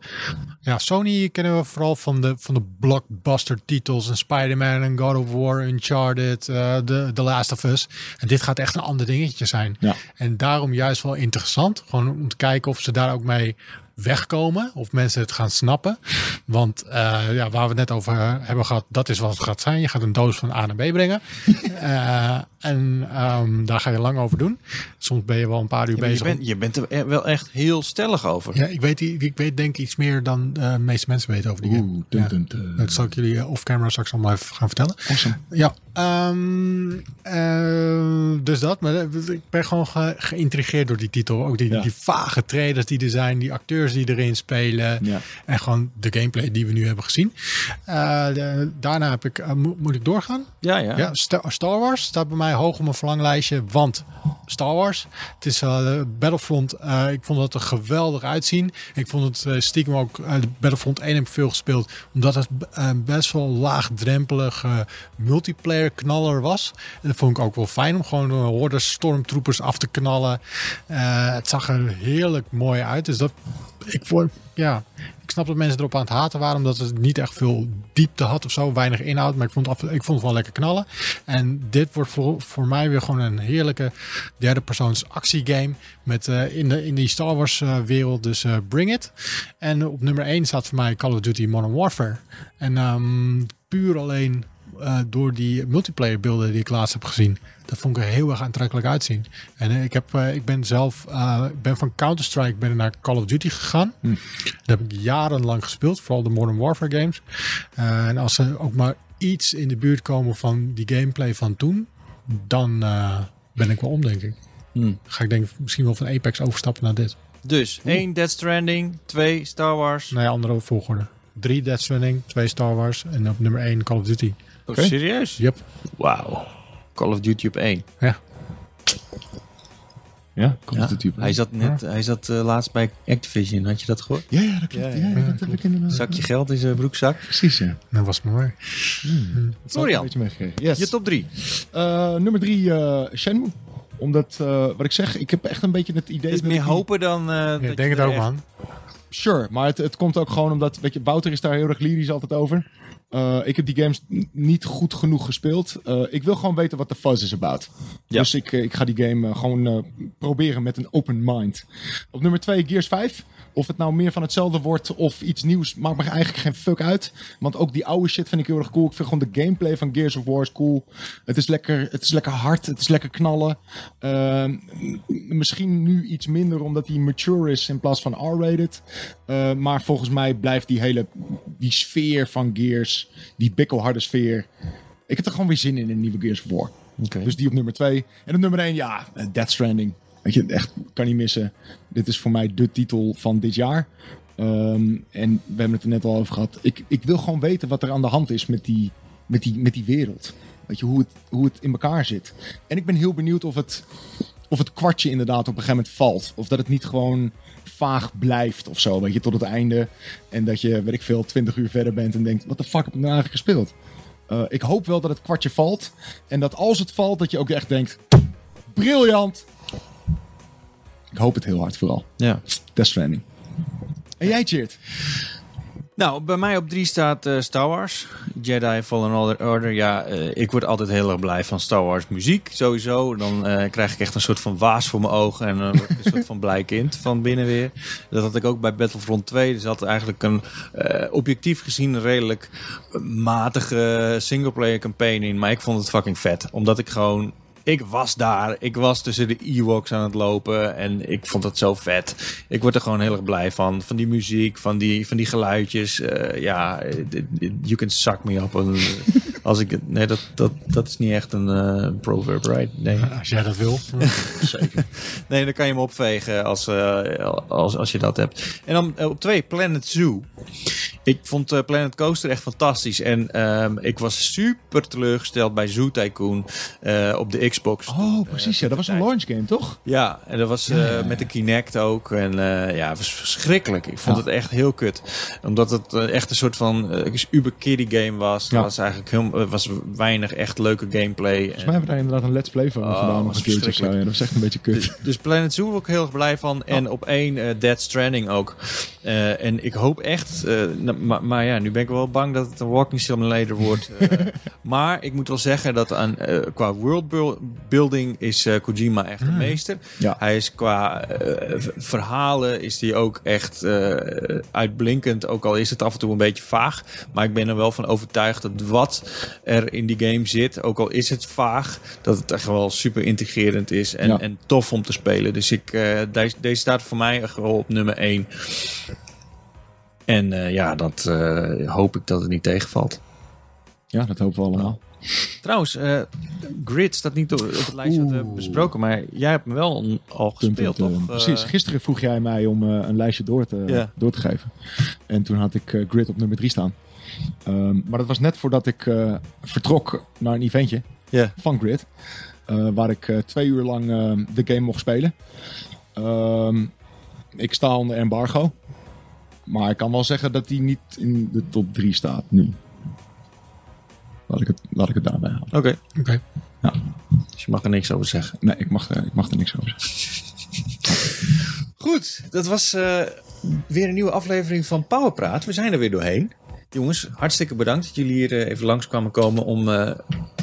S3: Ja, Sony kennen we vooral van de, van de blockbuster titels. En Spider-Man en God of War, Uncharted, eh, The, The Last of Us. En dit gaat echt een ander dingetje zijn.
S2: Ja.
S3: En daarom juist wel interessant. Gewoon om te kijken of ze daar ook mee wegkomen. Of mensen het gaan snappen. Want eh, ja, waar we het net over eh, hebben gehad, dat is wat het gaat zijn. Je gaat een doos van A naar B brengen. Eh, en ehm, daar ga je lang over doen. Soms ben je wel een paar uur
S1: Ja, maar je,
S3: bezig. om-
S1: bent, je bent er e-, wel echt heel stellig over.
S3: Ja, ik weet, ik weet denk ik iets meer dan eh, de meeste mensen weten over die game.
S2: Oeh, dun,
S3: Ja.
S2: dun, dun.
S3: Dat zal ik jullie eh, off-camera straks allemaal even gaan vertellen. Ja, ehm, eh, dus dat. Maar eh, ik ben gewoon ge- geïntrigeerd door die titel. Ook die,
S2: Ja.
S3: die vage trailers die er zijn, die acteurs die erin spelen.
S2: Ja.
S3: En gewoon de gameplay die we nu hebben gezien. Eh, de- daarna heb ik, eh, mo- moet ik doorgaan?
S1: Ja, ja.
S3: Ja, Sta- Star Wars staat bij mij hoog op mijn verlanglijstje, want Star Wars, het is eh, Battlefront, eh, ik vond dat er geweldig uitzien. Ik vond het eh, stiekem ook, eh, Battlefront 1 heb ik veel gespeeld, omdat het eh, best wel laagdrempelige eh, multiplayer knaller was. En dat vond ik ook wel fijn om gewoon eh, hordes stormtroopers af te knallen. Eh, het zag er heerlijk mooi uit, dus dat, ik vond, ja, ik snap dat mensen erop aan het haten waren, omdat het niet echt veel diepte had of zo, weinig inhoud. Maar ik vond, het af- ik vond het wel lekker knallen. En dit wordt voor, voor mij weer gewoon een heerlijke derde persoons actiegame met, eh, in, de, in die Star Wars eh, wereld. Dus eh, bring it. En op nummer 1 staat voor mij Call of Duty Modern Warfare. En ehm, puur alleen eh, door die multiplayer beelden die ik laatst heb gezien. Dat vond ik er heel erg aantrekkelijk uitzien. En eh, ik, heb, eh, ik ben zelf eh, ik ben van Counter-Strike ben ik naar Call of Duty gegaan. Dat heb ik jarenlang gespeeld, vooral de Modern Warfare games. Eh, en als ze ook maar iets in de buurt komen van die gameplay van toen, dan eh, ben ik wel om, denk ik.
S1: Hmm.
S3: Ga ik denk ik misschien wel van Apex overstappen naar dit.
S1: Dus één Death Stranding, twee Star Wars.
S3: Nee, andere volgorde. Drie Death Stranding, twee Star Wars en op nummer één Call of Duty.
S1: Oh, serieus?
S3: Yep.
S1: Wauw. Call of Duty op één.
S3: Ja.
S2: Ja, komt
S1: Ja.
S2: het type.
S1: Hij zat, net, hij zat eh, laatst bij Activision, had je dat gehoord?
S2: Ja, ja, dat klopt.
S1: Ja,
S2: Ja,
S1: ja,
S2: ja, dat heb ik inderdaad.
S1: Zakje geld in zijn broekzak.
S2: Precies, ja.
S3: Dat was het mooi.
S2: Dat zal ik
S1: Florian.
S2: een beetje meegekregen. Yes.
S1: Je top drie.
S2: Eh, nummer drie, eh, Shenmue. Omdat, eh, wat ik zeg, ik heb echt een beetje het idee...
S1: Het is
S2: dat
S1: meer
S2: ik die-
S1: hopen dan... eh, dat je
S3: ik denk het
S1: er
S3: ook,
S1: echt-
S3: man.
S2: Sure, maar het, het komt ook gewoon omdat... Weet je, Wouter is daar heel erg lyrisch altijd over. Eh, ik heb die games n- niet goed genoeg gespeeld. Eh, ik wil gewoon weten wat de fuzz is about.
S1: Ja.
S2: Dus ik, eh, ik ga die game eh, gewoon eh, proberen met een open mind. Op nummer 2 Gears 5. Of het nou meer van hetzelfde wordt of iets nieuws, maakt me eigenlijk geen fuck uit. Want ook die oude shit vind ik heel erg cool. Ik vind gewoon de gameplay van Gears of War is cool. Het is lekker, het is lekker hard, het is lekker knallen. Ehm, m- misschien nu iets minder omdat hij mature is in plaats van R-rated. Eh, maar volgens mij blijft die hele die sfeer van Gears, die bikkelharde sfeer. Ik heb er gewoon weer zin in, in een nieuwe Gears of War.
S1: Oké.
S2: Dus die op nummer 2. En op nummer 1, ja, eh, Death Stranding. Weet je, echt, kan niet missen. Dit is voor mij de titel van dit jaar. Ehm, en we hebben het er net al over gehad. Ik, ik wil gewoon weten wat er aan de hand is met die, met die, met die wereld. Weet je, hoe het, hoe het in elkaar zit. En ik ben heel benieuwd of het, of het kwartje inderdaad op een gegeven moment valt. Of dat het niet gewoon vaag blijft of zo. Weet je, tot het einde. En dat je, weet ik veel, 20 uur verder bent en denkt: wat de fuck heb ik nou eigenlijk gespeeld? Eh, ik hoop wel dat het kwartje valt. En dat als het valt, dat je ook echt denkt: briljant. Ik hoop het heel hard vooral.
S1: Ja.
S2: Death Stranding. En jij, Cheert?
S1: Nou, bij mij op drie staat eh, Star Wars. Jedi Fallen Order. Order. Ja, eh, ik word altijd heel erg blij van Star Wars muziek, sowieso. Dan eh, krijg ik echt een soort van waas voor mijn ogen en dan word ik een soort van blij kind van binnen weer. Dat had ik ook bij Battlefront 2. Dus had eigenlijk een eh, objectief gezien een redelijk matige singleplayer campaign in. Maar ik vond het fucking vet. Omdat ik gewoon ik was daar. Ik was tussen de Ewoks aan het lopen. En ik vond dat zo vet. Ik word er gewoon heel erg blij van. Van die muziek, van die, van die geluidjes. Eh, ja, eh, d- d- you can suck me up. En, eh, als ik, het- nee, dat, dat, dat is niet echt een eh, proverb, right? Nee.
S3: Als jij dat wil.
S1: nee, dan kan je hem opvegen als, eh, als, als je dat hebt. En dan eh, op twee, Planet Zoo. Ik vond eh, Planet Coaster echt fantastisch. En ehm, ik was super teleurgesteld bij Zoo Tycoon eh, op de Xbox.
S2: Oh, precies. Ja, dat was een launch game, toch?
S1: Ja, en dat was eh, met de Kinect ook. En eh, ja, het was verschrikkelijk. Ik vond
S2: Ja.
S1: het echt heel kut. Omdat het eh, echt een soort van eh, uber kiddie game was.
S2: Ja.
S1: Er was eigenlijk heel, er was weinig echt leuke gameplay.
S2: Volgens mij hebben we daar inderdaad een let's play van
S1: Oh,
S2: gedaan. Nog
S1: dat
S2: een
S1: is
S2: keertje of zo. Ja, dat was echt een beetje kut.
S1: Dus, dus Planet Zoo ook heel erg blij van. En op één eh, Dead Stranding ook. Eh, en ik hoop echt... eh, na- maar, maar ja, nu ben ik wel bang dat het een walking simulator wordt. eh. maar ik moet wel zeggen dat aan, eh, qua worldbuilding is eh, Kojima echt een meester.
S2: Hmm. Ja.
S1: Hij is qua eh, v- verhalen is die ook echt eh, uitblinkend. Ook al is het af en toe een beetje vaag. Maar ik ben er wel van overtuigd dat wat er in die game zit, ook al is het vaag, dat het echt wel super integrerend is en,
S2: Ja.
S1: en tof om te spelen. Dus ik, eh, deze, deze staat voor mij echt wel op nummer 1. En eh, ja, dat eh, hoop ik dat het niet tegenvalt.
S2: Ja, dat hopen we allemaal.
S1: Trouwens, eh, Grid staat niet op op het lijstje dat we hebben
S3: Oeh.
S1: besproken, maar jij hebt hem wel een- al
S2: Punt,
S1: gespeeld,
S2: punt,
S1: toch?
S2: eh, precies.
S1: Eh,
S2: Gisteren vroeg jij mij om eh, een lijstje door te,
S1: Ja.
S2: door te geven. En toen had ik eh, Grid op nummer 3 staan. Ehm, maar dat was net voordat ik eh, vertrok naar een eventje
S1: Ja.
S2: van Grid. eh, waar ik eh, twee uur lang eh, de game mocht spelen. Ehm, ik sta onder embargo. Maar ik kan wel zeggen dat die niet in de top 3 staat nu. Laat ik het, laat ik het daarbij houden.
S1: Oké,
S3: Oké.
S1: dus je mag er niks over zeggen.
S2: Nee, ik mag, er- ik mag er niks over zeggen.
S1: Goed, dat was eh, weer een nieuwe aflevering van Powerpraat. We zijn er weer doorheen. Jongens, hartstikke bedankt dat jullie hier eh, even langs kwamen komen om, eh,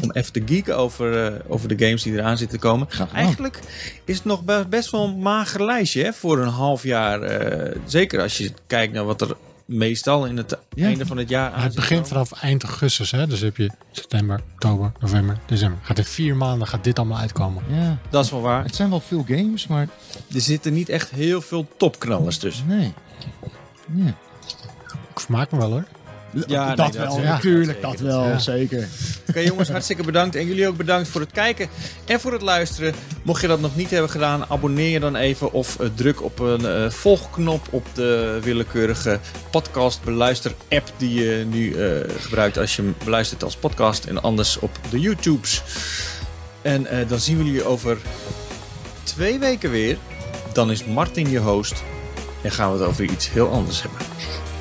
S1: om even te geeken over, eh, over de games die eraan zitten te komen.
S2: Graag gedaan.
S1: Eigenlijk is het nog be- best wel een mager lijstje hè, voor een half jaar. eh, zeker als je kijkt naar wat er meestal in het
S2: Ja.
S1: einde van het jaar aan
S3: Het
S1: zit
S3: begint
S1: te
S3: vanaf eind augustus, hè? dus heb je september, oktober, november, december. Gaat in vier maanden gaat dit allemaal uitkomen.
S2: Ja,
S1: komen. Dat is wel waar.
S2: het zijn wel veel games, maar
S1: Er zitten niet echt heel veel topknallers tussen.
S2: Nee. Ja,
S3: Ik vermaak me wel hoor.
S1: Ja, nee,
S2: dat
S1: dat
S2: wel,
S1: zeker,
S2: natuurlijk,
S1: dat
S2: dat,
S1: zeker.
S2: wel,
S3: Ja.
S2: zeker.
S1: Oké jongens, hartstikke bedankt. En jullie ook bedankt voor het kijken en voor het luisteren. Mocht je dat nog niet hebben gedaan, abonneer je dan even. Of eh, druk op een eh, volgknop op de willekeurige podcast beluister app die je nu eh, gebruikt als je hem beluistert als podcast. En anders op de YouTubes. En eh, dan zien we jullie over twee weken weer. Dan is Martin je host en gaan we het over iets heel anders hebben.